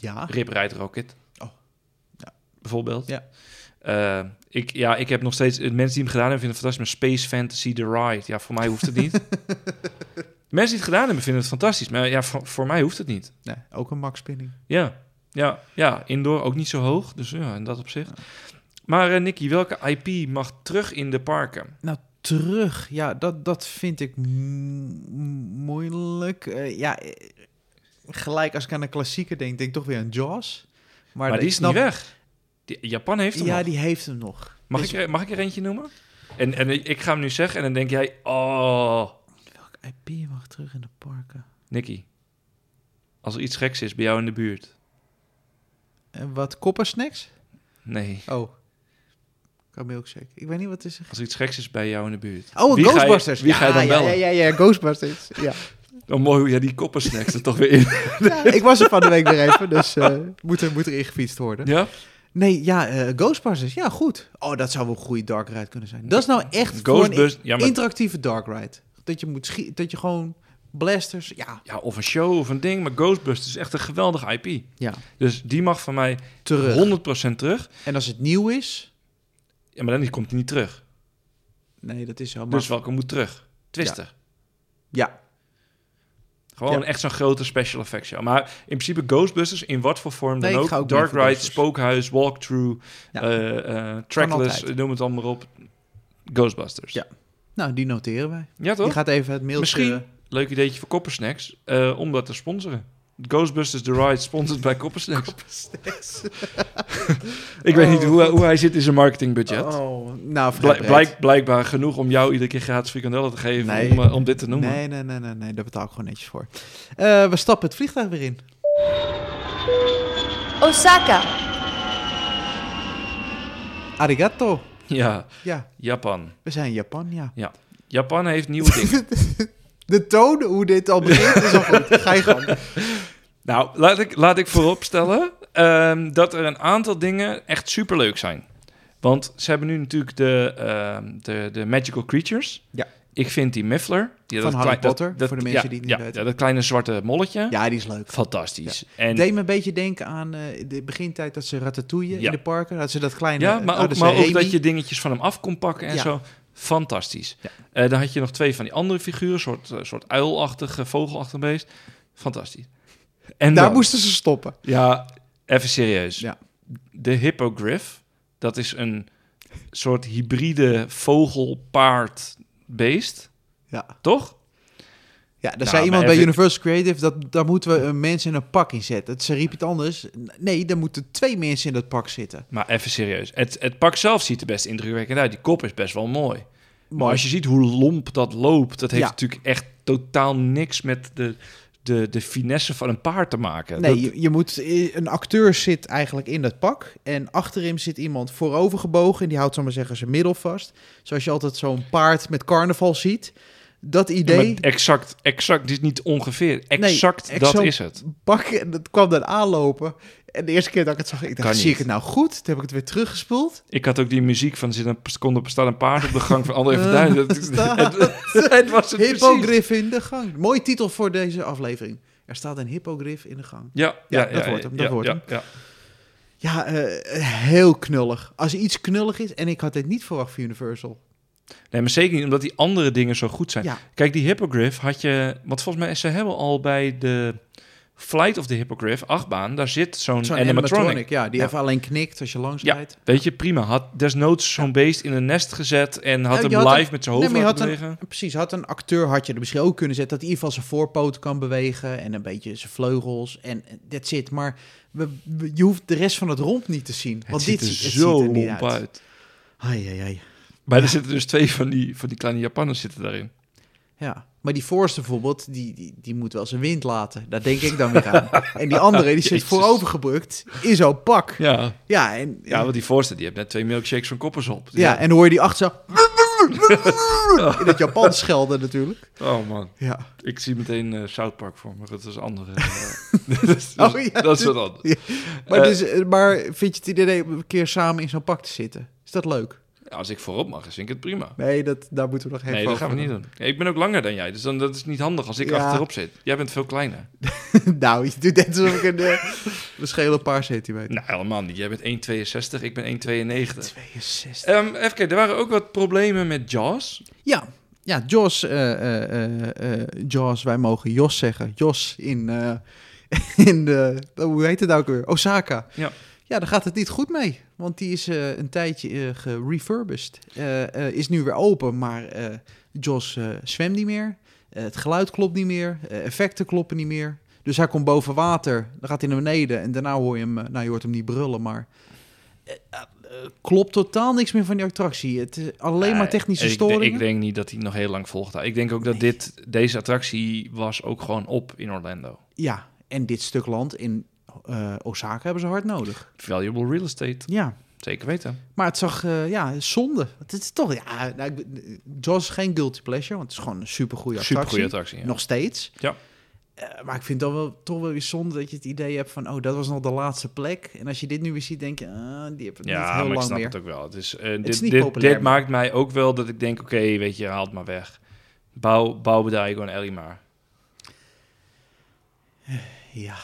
ja,
Rip Ride Rocket.
Oh.
Ja. Bijvoorbeeld.
Ja.
Eh, ik, ja, ik heb nog steeds... eh, Mensen die hem gedaan hebben, vinden het fantastisch. Maar Space Fantasy The Ride, ja, voor mij hoeft het niet. mensen die het gedaan hebben, vinden het fantastisch. Maar ja, voor, voor mij hoeft het niet.
nee, ook een max-spinning.
Ja, ja, ja. Indoor ook niet zo hoog. Dus ja, in dat opzicht. Maar eh Nicky, welke IP mag terug in de parken?
Nou, terug. Ja, dat, dat vind ik m- moeilijk. Eh, ja, eh, gelijk als ik aan een klassieker denk, denk ik toch weer aan Jaws. Maar,
Maar,
ik
die is
snap-
niet weg. Die- Japan heeft hem
Ja,
nog.
die heeft hem nog.
Mag,
Dus
ik er, mag ik er eentje noemen? En, en ik ga hem nu zeggen en dan denk jij... Oh,
welk IP mag terug in de parken?
Nicky. Als er iets geks is bij jou in de buurt.
En wat, koppersnacks?
Nee.
Oh, kan me ook zeker. Ik weet niet wat is er.
Als er iets geks is bij jou in de buurt.
Oh,
Wie ga je-
Ghostbusters.
wie ga je
Ja,
dan
ja,
bellen?
Ja, ja, ja, Ghostbusters. Ja.
Oh, mooi hoe jij die koppen snacks er toch weer in.
Ja, ik was er van de week weer even, dus eh, moet, er, moet er ingefietst worden.
Ja?
Nee, ja, eh, Ghostbusters. Ja, goed. Oh, dat zou wel een goede dark ride kunnen zijn. Dat is nou echt voor een
Ghostbusters. Ja, maar-
interactieve dark ride. Dat je moet schieten, dat je gewoon blasters... Ja,
ja, of een show of een ding. Maar Ghostbusters is echt een geweldig IP.
ja,
Dus die mag van mij
terug.
100% terug.
En als het nieuw is...
Ja, maar dan komt hij niet terug.
Nee, dat is zo. Maar...
Dus welke moet terug? Twister.
Ja,
Gewoon
Ja.
echt zo'n grote special effects show. Maar in principe Ghostbusters, in wat voor vorm dan
Nee, ik
ook.
ga ook
Dark
mee voor
Ride,
Ghostbusters.
Spookhuis, Walkthrough,
Ja.
eh, eh, Trackless,
altijd.
noem het allemaal maar op. Ghostbusters.
Ja. nou, die noteren wij.
Ja,
Die eh,
toch?
gaat even het mailtje...
Misschien, leuk ideetje voor Koppersnacks, eh, om dat te sponsoren. Ghostbusters The Ride sponsored bij Koppersnacks. Ik weet
Oh,
niet hoe, hij- hoe hij zit in zijn marketingbudget.
Oh, nou, vrij
Blijk-
breed.
blijk- blijkbaar genoeg om jou iedere keer gratis frikandellen te geven
Nee.
om, eh, om dit te noemen.
Nee, nee, nee, nee, nee, daar betaal ik gewoon netjes voor. Eh, we stappen het vliegtuig weer in.
Osaka,
Arigato.
Ja,
Ja,
Japan.
we zijn in Japan, ja.
Japan heeft nieuwe dingen.
De toon, hoe dit al begint, is al goed. Ga je gang.
Nou, laat ik, laat ik vooropstellen ehm, dat er een aantal dingen echt superleuk zijn. Want ze hebben nu natuurlijk de, ehm, de, de Magical Creatures.
Ja.
Ik vind die Miffler... Die,
Van Harry
dat-
Potter,
dat-
voor de mensen
ja,
die het
ja,
niet weten.
Ja, dat kleine zwarte molletje.
Ja, die is leuk.
Fantastisch. En,
deed me een beetje denken aan eh, de begintijd dat ze ratatouille
Ja.
in de parken. Dat ze dat kleine... eh,
ja, maar ook,
hadden ze
maar ook
Remy.
dat je dingetjes van hem af kon pakken en
dus, Ja.
zo. Fantastisch.
Ja.
Eh, dan had je nog twee van die andere figuren, soort, eh, soort uilachtige, vogelachtig beest. Fantastisch. En
Daar
dan-
moesten ze stoppen.
Ja, even serieus.
Ja.
De hippogriff, dat is een soort hybride vogel-paard-beest,
Ja,
toch?
ja daar
Nou,
zei iemand
maar
bij
even-
Universal Creative... dat daar moeten we een mens in een pak in zetten. Ze riep het anders. Nee, daar moeten twee mensen in dat pak zitten.
Maar even serieus. Het, het pak zelf ziet er best indrukwekkend uit. Die kop is best wel mooi. Maar
Mooi.
als je ziet hoe lomp dat loopt, dat heeft
Ja.
natuurlijk echt totaal niks met de, de, de finesse van een paard te maken.
Nee,
Dat-
je, je moet, eh, een acteur zit eigenlijk in dat pak. En achter hem zit iemand voorovergebogen. En die houdt, zal maar zeggen, zijn middel vast. Zoals je altijd zo'n paard met carnaval ziet. Dat
Ja, maar
idee.
exact, exact, dit is niet ongeveer. Exact,
exact.
dat is het.
pak, en dat kwam dan aanlopen. En de eerste keer dat ik het zag, ik
Kan
dacht, zie
niet.
ik het nou goed? Toen heb ik het weer teruggespoeld.
Ik had ook die muziek van, er zit een, seconde bestaat een paard op de gang van André van Duin. Dat,
Eh, staat-
het, het was het precies.
Hippogrif in de gang. Mooi titel voor deze aflevering. Er staat een hippogrif in de gang.
Ja, ja,
Ja,
ja,
dat
ja,
wordt hem, dat
ja,
wordt
ja,
hem.
ja.
Ja, eh, heel knullig. Als er iets knullig is, en ik had dit niet verwacht van Universal.
Nee, maar zeker niet omdat die andere dingen zo goed zijn.
Ja.
Kijk, die Hippogriff had je... Want volgens mij, ze hebben al bij de Flight of the Hippogriff, achtbaan... daar zit zo'n
Zo'n
animatronic.
animatronic, ja. Die
Ja.
even alleen knikt als je langs
Ja,
rijdt.
weet je, prima. Had desnoods zo'n beest in een nest gezet... en had
Ja,
hem
je had
live
een-
met zijn hoofd
nee, maar je
laten
had
liggen.
Precies, had een acteur had je er misschien ook kunnen zetten... dat hij in ieder geval zijn voorpoten kan bewegen... en een beetje zijn vleugels en that's it. Maar we, we- je hoeft de rest van het rond niet te zien. Want
Het ziet
dit
er
ziet, het
zo
ziet er niet
lomp
uit.
uit.
Ai, ai, ai.
Maar er zitten dus twee van die, van die kleine Japanners zitten daarin.
Ja, maar die voorste bijvoorbeeld, die, die, die moet wel zijn wind laten. Daar denk ik dan weer aan. En die andere, die zit
Jezus.
voorovergebrukt in zo'n pak. Ja,
Ja,
en,
ja
ja,
want die voorste, die heeft net twee milkshakes van koppers op.
en dan hoor je die achter zo... In het Japan schelden natuurlijk.
Oh man.
Ja.
Ik zie meteen eh South Park voor me, dat is een andere. eh, dat is,
Oh, ja,
dat is
dit-
wat anders.
Maar,
Eh,
dus, eh, maar vind je het idee om een keer samen in zo'n pak te zitten? Is dat leuk?
Ja, Als ik voorop mag, vind ik het prima.
Nee, dat, daar moeten we nog even
nee, dat gaan we
over
niet doen. Ja, ik ben ook langer dan jij, dus dan, dat is niet handig als ik
Ja.
achterop zit. Jij bent veel kleiner.
doen. nou, je doet net alsof ik een... eh, we schelen een paar centimeter.
Nou, helemaal niet. Jij bent 1,62, ik ben 1,92.
62.
Ehm even kijken, er waren ook wat problemen met Jaws.
Ja, ja Jos, eh, eh, eh, eh, Jos, wij mogen Jos zeggen. Jos in, eh, in de, hoe heet het nou ook weer? Osaka.
Ja.
Ja, daar gaat het niet goed mee. Want die is eh, een tijdje eh gerefurbished. Eh, eh, is nu weer open, maar eh Jos eh, zwemt niet meer. Eh, het geluid klopt niet meer. Eh, effecten kloppen niet meer. Dus hij komt boven water, dan gaat hij naar beneden en daarna hoor je hem, eh, nou je hoort hem niet brullen, maar eh, eh, eh, klopt totaal niks meer van die attractie. Het is alleen maar
Eh,
technische
ik,
storingen.
Ik denk niet dat hij nog heel lang volgt. Ik denk ook dat dit, deze attractie was ook gewoon op in Orlando.
Ja, en dit stuk land in eh, Osaka hebben ze hard nodig.
Valuable real estate,
Ja.
zeker weten.
Maar het zag, eh, ja, zonde. Het is toch, ja, nou, ik, ben- Jaws is geen guilty pleasure, want het is gewoon een supergoeie attractie.
Supergoeie attractie. ja.
Nog steeds.
Ja.
Eh, maar ik vind dan wel toch wel weer zonde dat je het idee hebt van, oh, dat was nog de laatste plek. En als je dit nu weer ziet, denk je, ah, die hebben het niet
Ja,
heel
maar ik
lang
snap
meer.
het ook wel. Het is, eh, dit,
is niet
dit,
populair
dit
meer.
maakt mij ook wel dat ik denk, oké, weet je, haal het maar weg. Bouw, bouw Bedaigo en Ellie maar.
Ja.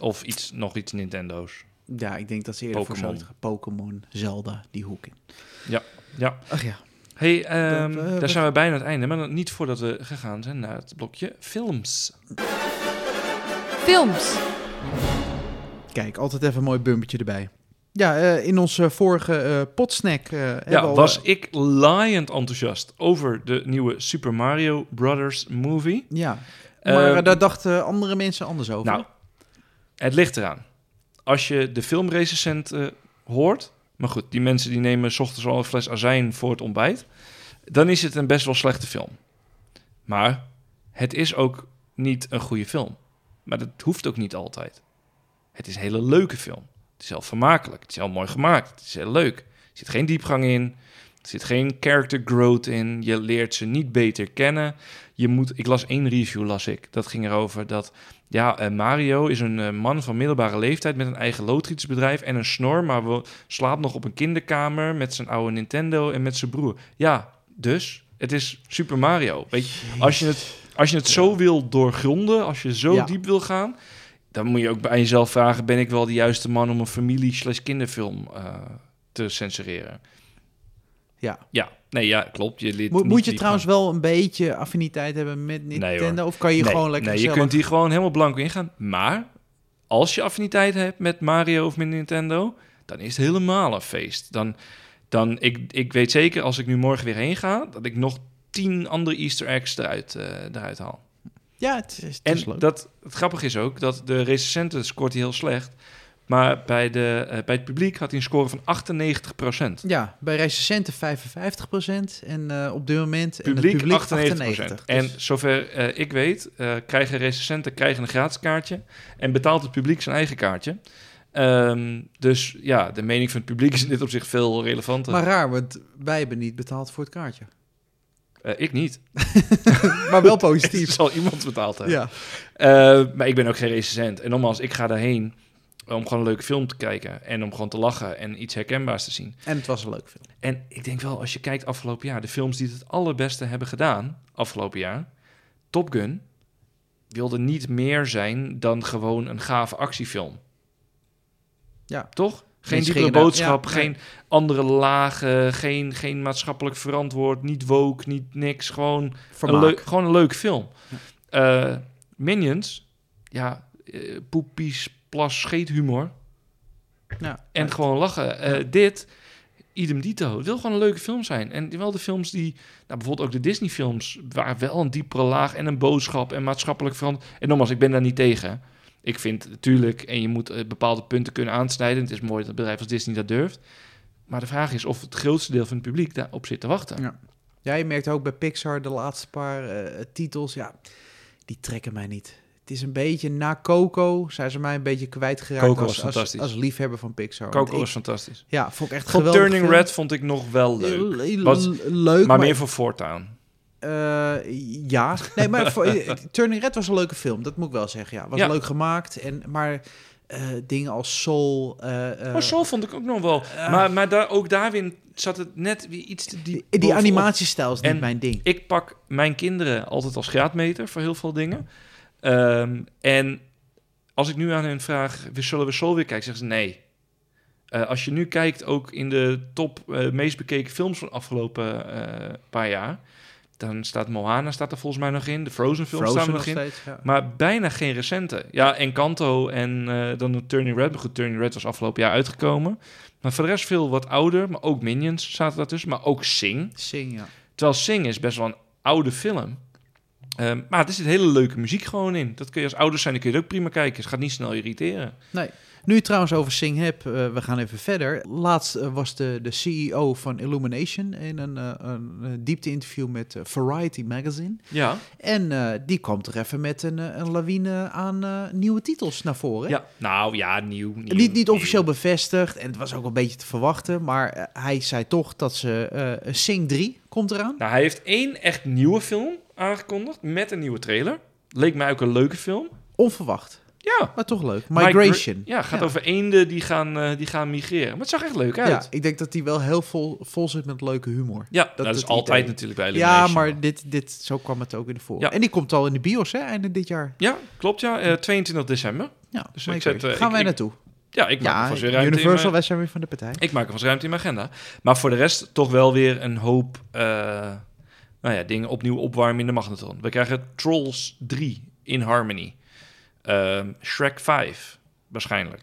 Of iets, nog iets Nintendo's.
ja, ik denk dat ze eerder voor
Pokémon.
zouden gaan. Pokémon, Zelda, die hoek in.
Ja.
Ach ja.
hey, ehm,
Dat, eh,
daar
dat-
zijn we bijna aan het einde. Maar nog niet voordat we gegaan zijn naar het blokje films.
Films.
Kijk, altijd even een mooi bumpetje erbij. Ja, eh, in onze vorige eh, potsnack eh, hebben we
Ja,
al,
was ik laaiend enthousiast over de nieuwe Super Mario Brothers movie.
Ja, maar
Ehm,
eh, daar dachten andere mensen anders over.
Nou, het ligt eraan. Als je de filmrecensent eh, hoort, maar goed, die mensen die nemen 's ochtends al een fles azijn voor het ontbijt, dan is het een best wel slechte film. Maar het is ook niet een goede film. Maar dat hoeft ook niet altijd. Het is een hele leuke film. Het is heel vermakelijk. Het is heel mooi gemaakt. Het is heel leuk. Er zit geen diepgang in. Er zit geen character growth in. Je leert ze niet beter kennen. Je moet, ik las één review, las ik. Dat ging erover dat ja, eh, Mario is een eh, man van middelbare leeftijd met een eigen loodgietersbedrijf en een snor, maar we slaapt nog op een kinderkamer met zijn oude Nintendo en met zijn broer. Ja, dus Het is Super Mario. Weet je, als je het, als je het zo wil doorgronden, als je zo
Ja.
diep wil gaan, dan moet je ook bij jezelf vragen: ben ik wel de juiste man om een familie slash kinderfilm eh, te censureren?
Ja.
Ja, nee, ja, klopt. Je liet
Moet,
niet
moet je
die
trouwens wel een beetje affiniteit hebben met
Nee, hoor.
Nintendo? of kan je
nee,
gewoon lekker
nee, je
zelf...
kunt hier gewoon helemaal blanco ingaan. Maar als je affiniteit hebt met Mario of met Nintendo, dan is het helemaal een feest. Dan, dan ik, ik weet zeker als ik nu morgen weer heen ga, dat ik nog tien andere Easter eggs eruit, eh, eruit haal.
Ja, het is, het
En
is leuk.
dat, het grappige is ook dat de recensenten scoort hij heel slecht. Maar bij, de, eh, bij het publiek had hij een score van 98 procent.
Ja, bij recensenten 55% en eh, op dit moment en
Publiek,
het publiek
98
98%.
En
Dus-
zover eh, ik weet, eh, krijgen recensenten krijgen een gratis kaartje. En betaalt het publiek zijn eigen kaartje. Ehm, dus ja, de mening van het publiek is in dit opzicht veel relevanter.
Dus, maar raar, want wij hebben niet betaald voor het kaartje.
Eh, ik niet.
Maar wel
Het
positief.
zal iemand betaald hebben.
ja.
Eh, maar ik ben ook geen recensent. En nogmaals, ik ga daarheen om gewoon een leuke film te kijken. En om gewoon te lachen en iets herkenbaars te zien.
En het was een leuk film.
En ik denk wel, als je kijkt afgelopen jaar, de films die het het allerbeste hebben gedaan afgelopen jaar, Top Gun wilde niet meer zijn dan gewoon een gave actiefilm.
Ja.
Toch? Geen
Mensen
diepere
gingen daar-
boodschap,
ja,
geen andere lagen, geen, geen maatschappelijk verantwoord, niet woke, niet niks. Gewoon een,
Vermaak.
leuk, gewoon een leuk film. Eh, Minions, ja, eh, poepies, plas, scheethumor.
Ja.
En gewoon lachen. Eh, dit, idem dito. Het wil gewoon een leuke film zijn. En wel de films die... Nou, bijvoorbeeld ook de Disney-films... waar wel een diepere laag en een boodschap... en maatschappelijk veranderd... En nogmaals, ik ben daar niet tegen. Ik vind, natuurlijk... en je moet eh, bepaalde punten kunnen aansnijden. Het is mooi dat een bedrijf als Disney dat durft. Maar de vraag is of het grootste deel van het publiek... daarop zit te wachten.
Ja. Ja, je merkt ook bij Pixar de laatste paar eh, titels, ja, die trekken mij niet. Het is een beetje na Coco, zijn ze mij een beetje kwijtgeraakt
Coco was
als, als,
fantastisch.
als liefhebber van Pixar. Want
Coco
ik-
was fantastisch.
Ja, vond ik echt
Van
geweldig.
Turning Red vond ik nog wel leuk. Was-
leuk,
maar meer voor voortaan.
eh, ja, nee, maar voor- eh, Turning Red was een leuke film, dat moet ik wel zeggen. Ja, was
Ja.
leuk gemaakt. En, maar eh, dingen als Soul. eh, eh,
Maar zo vond ik ook nog wel. maar maar daar, ook daarin zat het net weer iets te diep.
die, die
bovenop.
animatiestijl is niet
En-
mijn ding.
Ik pak mijn kinderen altijd als graadmeter voor heel veel dingen. Ehm, en als ik nu aan hen vraag, "We- zullen we Soul weer kijken? Zeggen ze nee. Eh, als je nu kijkt, ook in de top eh, meest bekeken films van de afgelopen eh, paar jaar... dan staat Moana staat er volgens mij nog in. De Frozen films
Frozen
staan er nog in.
steeds. Ja.
Maar bijna geen recente. Ja, Encanto en eh dan de Turning Red. Maar goed, Turning Red was afgelopen jaar uitgekomen. Maar voor de rest veel wat ouder. Maar ook Minions zaten daartussen. Maar ook Sing.
Sing, ja.
Terwijl Sing is best wel een oude film. Ehm, maar er zit hele leuke muziek gewoon in. Dat kun je als ouders zijn, dan kun je het ook prima kijken. Het gaat niet snel irriteren.
Nee. Nu je het trouwens over Sing heb, we gaan even verder. Laatst eh, was de, de CEO van Illumination in een, eh, een eh, diepte-interview met eh, Variety Magazine.
Ja,
En eh, die kwam er even met een, eh, een lawine aan eh, nieuwe titels naar voren.
ja. nou ja, nieuw. nieuw,
Niet, niet
nieuw.
officieel bevestigd en het was ook een beetje te verwachten. Maar eh, hij zei toch dat ze... eh, Sing 3 komt eraan.
Nou, hij heeft één echt nieuwe film aangekondigd met een nieuwe trailer. Leek mij ook een leuke film.
Onverwacht,
Ja,
maar toch leuk.
Migra-
Migration.
Ja, gaat
Ja.
over eenden die gaan, eh, die gaan migreren. Maar het zag echt leuk
Ja,
uit. Ja,
ik denk dat die wel heel vol, vol zit met leuke humor.
dat,
dat
is
het
altijd
idee.
natuurlijk bij
Ja,
Illumination.
maar dit, dit, zo kwam het ook in de voor.
Ja.
En die komt al in de bios, hè, einde dit jaar.
Ja, klopt ja. Eh, 22 december.
Ja,
Dus
maar
ik
weet
zet,
het.
eh,
Gaan
ik-
wij
ik-
naartoe?
Ja, ik maak
Ja,
alvast weer ruimte in
Universal,
mijn-
wij zijn weer van de partij.
Ik maak er vast ruimte in mijn agenda. Maar voor de rest toch wel weer een hoop eh, nou ja, dingen opnieuw opwarmen in de magnetron. We krijgen Trolls 3 in Harmony. Ehm, Shrek 5 waarschijnlijk.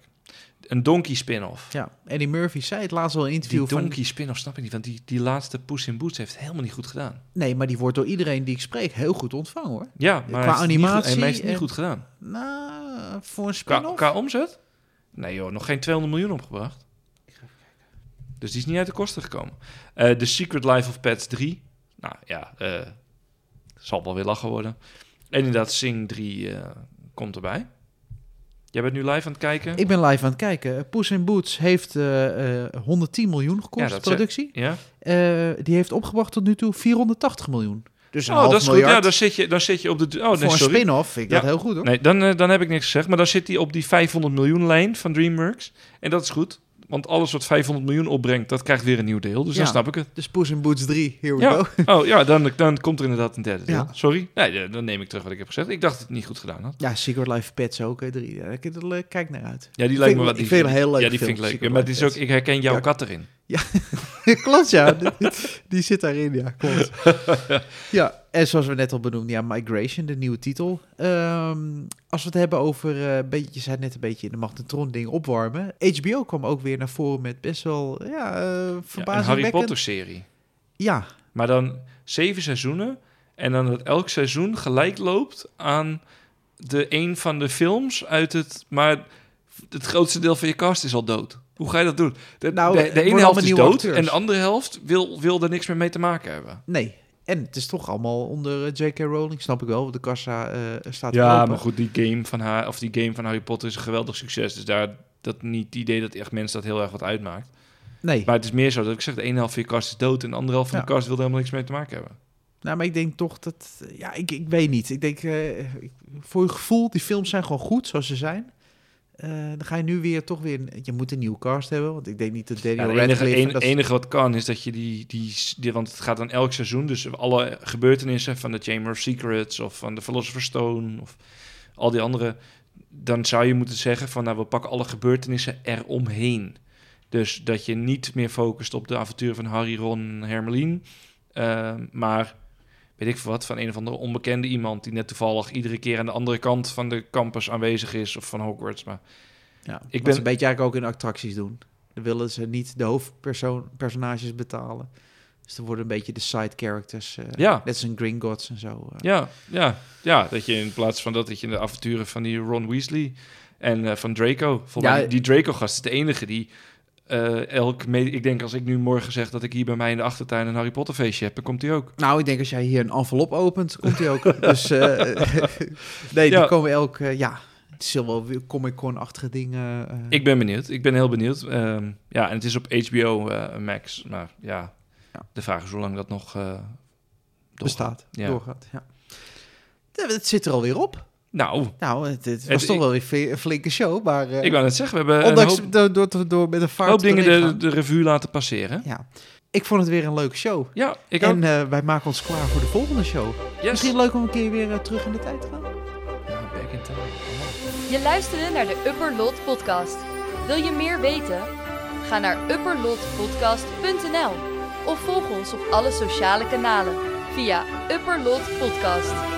Een Donkey spin-off.
Ja, Eddie Murphy zei het laatst wel in een
Die
interview van...
Donkey spin-off snap ik niet, want die, die laatste Poes in Boots heeft het helemaal niet goed gedaan.
Nee, maar die wordt door iedereen die ik spreek heel goed ontvangen, hoor.
Ja, maar hij
Qua
heeft het niet goed-
animatie
hij heeft het niet
en-
goed gedaan.
Nou, voor een
Qua,
spin-off?
qua omzet? Nee joh, nog geen 200 miljoen opgebracht. Dus die is niet uit de kosten gekomen. Eh The Secret Life of Pets 3. Nou ja, eh, zal wel weer lachen worden. En inderdaad, Sing 3 eh, komt erbij. Jij bent nu live aan het kijken?
Ik ben live aan het kijken. Poes in Boots heeft eh, eh, 110 miljoen gekost,
Ja, dat is-
productie.
Ja?
Eh, die heeft opgebracht tot nu toe 480 miljoen. Dus een
Oh,
half
dat is goed.
miljard
Ja, dan zit je, dan zit je op de... Oh, nee,
voor een
sorry.
spin-off vind ik
Ja.
dat heel goed, hoor.
Nee, dan, eh, dan heb ik niks gezegd. Maar dan zit hij op die 500 miljoen lijn van DreamWorks. En dat is goed. Want alles wat 500 miljoen opbrengt, dat krijgt weer een nieuw deel. Dus
Ja.
dan snap ik het.
Dus Poes in Boots 3, here we
Ja.
go.
Oh ja, dan, dan komt er inderdaad een derde deel.
Ja.
Sorry. Nee, dan neem ik terug wat ik heb gezegd. Ik dacht dat ik het niet goed gedaan had.
Ja, Secret Life Pets ook, hè, 3. Ja, ik- daar kijk naar uit.
Ja, die
Ik
lijkt
vind-
me wel.
ik
die-
vind het een heel
Ja,
leuke
die
film,
vind ik leuk.
Secret
Ja, maar het
Life
is ook, ik herken jouw
Ja.
kat erin.
klopt, ja. die, die zit daarin, ja, klopt. ja, en zoals we net al benoemden, ja, Migration, de nieuwe titel. Ehm, als we het hebben over, eh, een beetje, je zei het net een beetje in de Magnetron ding opwarmen. HBO kwam ook weer naar voren met best wel, ja, eh
Ja, een
verbazingwekkend.
Harry Potter serie.
Ja,
Maar dan zeven seizoenen. En dan dat elk seizoen gelijk loopt aan de een van de films uit het. Maar het grootste deel van je cast is al dood. Hoe ga je dat doen? De,
Nou,
de,
het
de
worden
ene helft
allemaal
is
nieuwe
dood
acteurs.
en de andere helft wil, wil er niks meer mee te maken hebben.
nee. En het is toch allemaal onder eh, J.K. Rowling, snap ik wel, want de kassa eh, staat
Ja,
open.
maar goed, die game van haar of die game van Harry Potter is een geweldig succes. Dus daar dat niet het idee dat echt mensen dat heel erg wat uitmaakt.
Nee,
Maar het is meer zo dat ik zeg, de ene helft van je kast is dood en de andere helft van
Ja.
de kast wil er helemaal niks mee te maken hebben.
Nou, maar ik denk toch dat... Ja, ik, ik weet niet. Ik denk, eh, ik- voor je gevoel, die films zijn gewoon goed zoals ze zijn. Eh, dan ga je nu weer toch weer... een- Je moet een nieuwe cast hebben, want ik denk niet dat
Ja,
Daniel
het enige,
Radcliffe...
en-
en dat-
enige wat kan is dat je die, die, die- want het gaat dan elk seizoen, dus alle gebeurtenissen van de Chamber of Secrets of van de Philosopher's Stone of al die andere, dan zou je moeten zeggen van nou we pakken alle gebeurtenissen eromheen. Dus dat je niet meer focust op de avonturen van Harry, Ron, Hermeline, eh, maar weet ik veel wat, van een of andere onbekende iemand die net toevallig iedere keer aan de andere kant van de campus aanwezig is of van Hogwarts. Maar
ja, ik
ben-
ben... een beetje eigenlijk ook in attracties doen. Dan willen ze niet de hoofdpersonages betalen. Dus dan worden een beetje de side characters. eh,
Ja.
Net als een Gringotts en zo. eh.
Ja, ja, ja. Dat je in plaats van dat, dat je in de avonturen van die Ron Weasley en eh, van Draco. Volgens
Ja,
mij, die Draco-gast is de enige die eh, elk. me- ik denk als ik nu morgen zeg dat ik hier bij mij in de achtertuin een Harry Potter feestje heb, dan komt die ook.
Nou, ik denk als jij hier een envelop opent, komt die ook. dus eh, nee,
Ja.
die komen elk... eh, ja, het is wel weer Comic-Con-achtige dingen. eh.
Ik ben benieuwd. Ik ben heel benieuwd. Ehm, ja, en het is op HBO eh, Max. Maar ja,
Ja.
de vraag is hoe lang dat nog. eh, Door-
bestaat,
ja.
doorgaat. Ja. Ja, Het zit er alweer op.
nou,
Nou, het, het was
Het-
toch
ik-
wel weer ve- een flinke show, maar eh,
ik wou net zeggen, we hebben
ondanks
een hoop,
door, door, door, door met een vaart
hoop dingen
doorheen
de,
gaan.
de revue laten passeren.
Ja. Ik vond het weer een leuke show.
Ja, ik ook.
en eh, wij maken ons klaar voor de volgende show.
Yes.
Misschien leuk om een keer weer eh, terug in de tijd te gaan.
Ja, back in time.
Je luisterde naar de Upper Lot Podcast. Wil je meer weten? Ga naar upperlotpodcast.nl of volg ons op alle sociale kanalen via Upper Lot Podcast.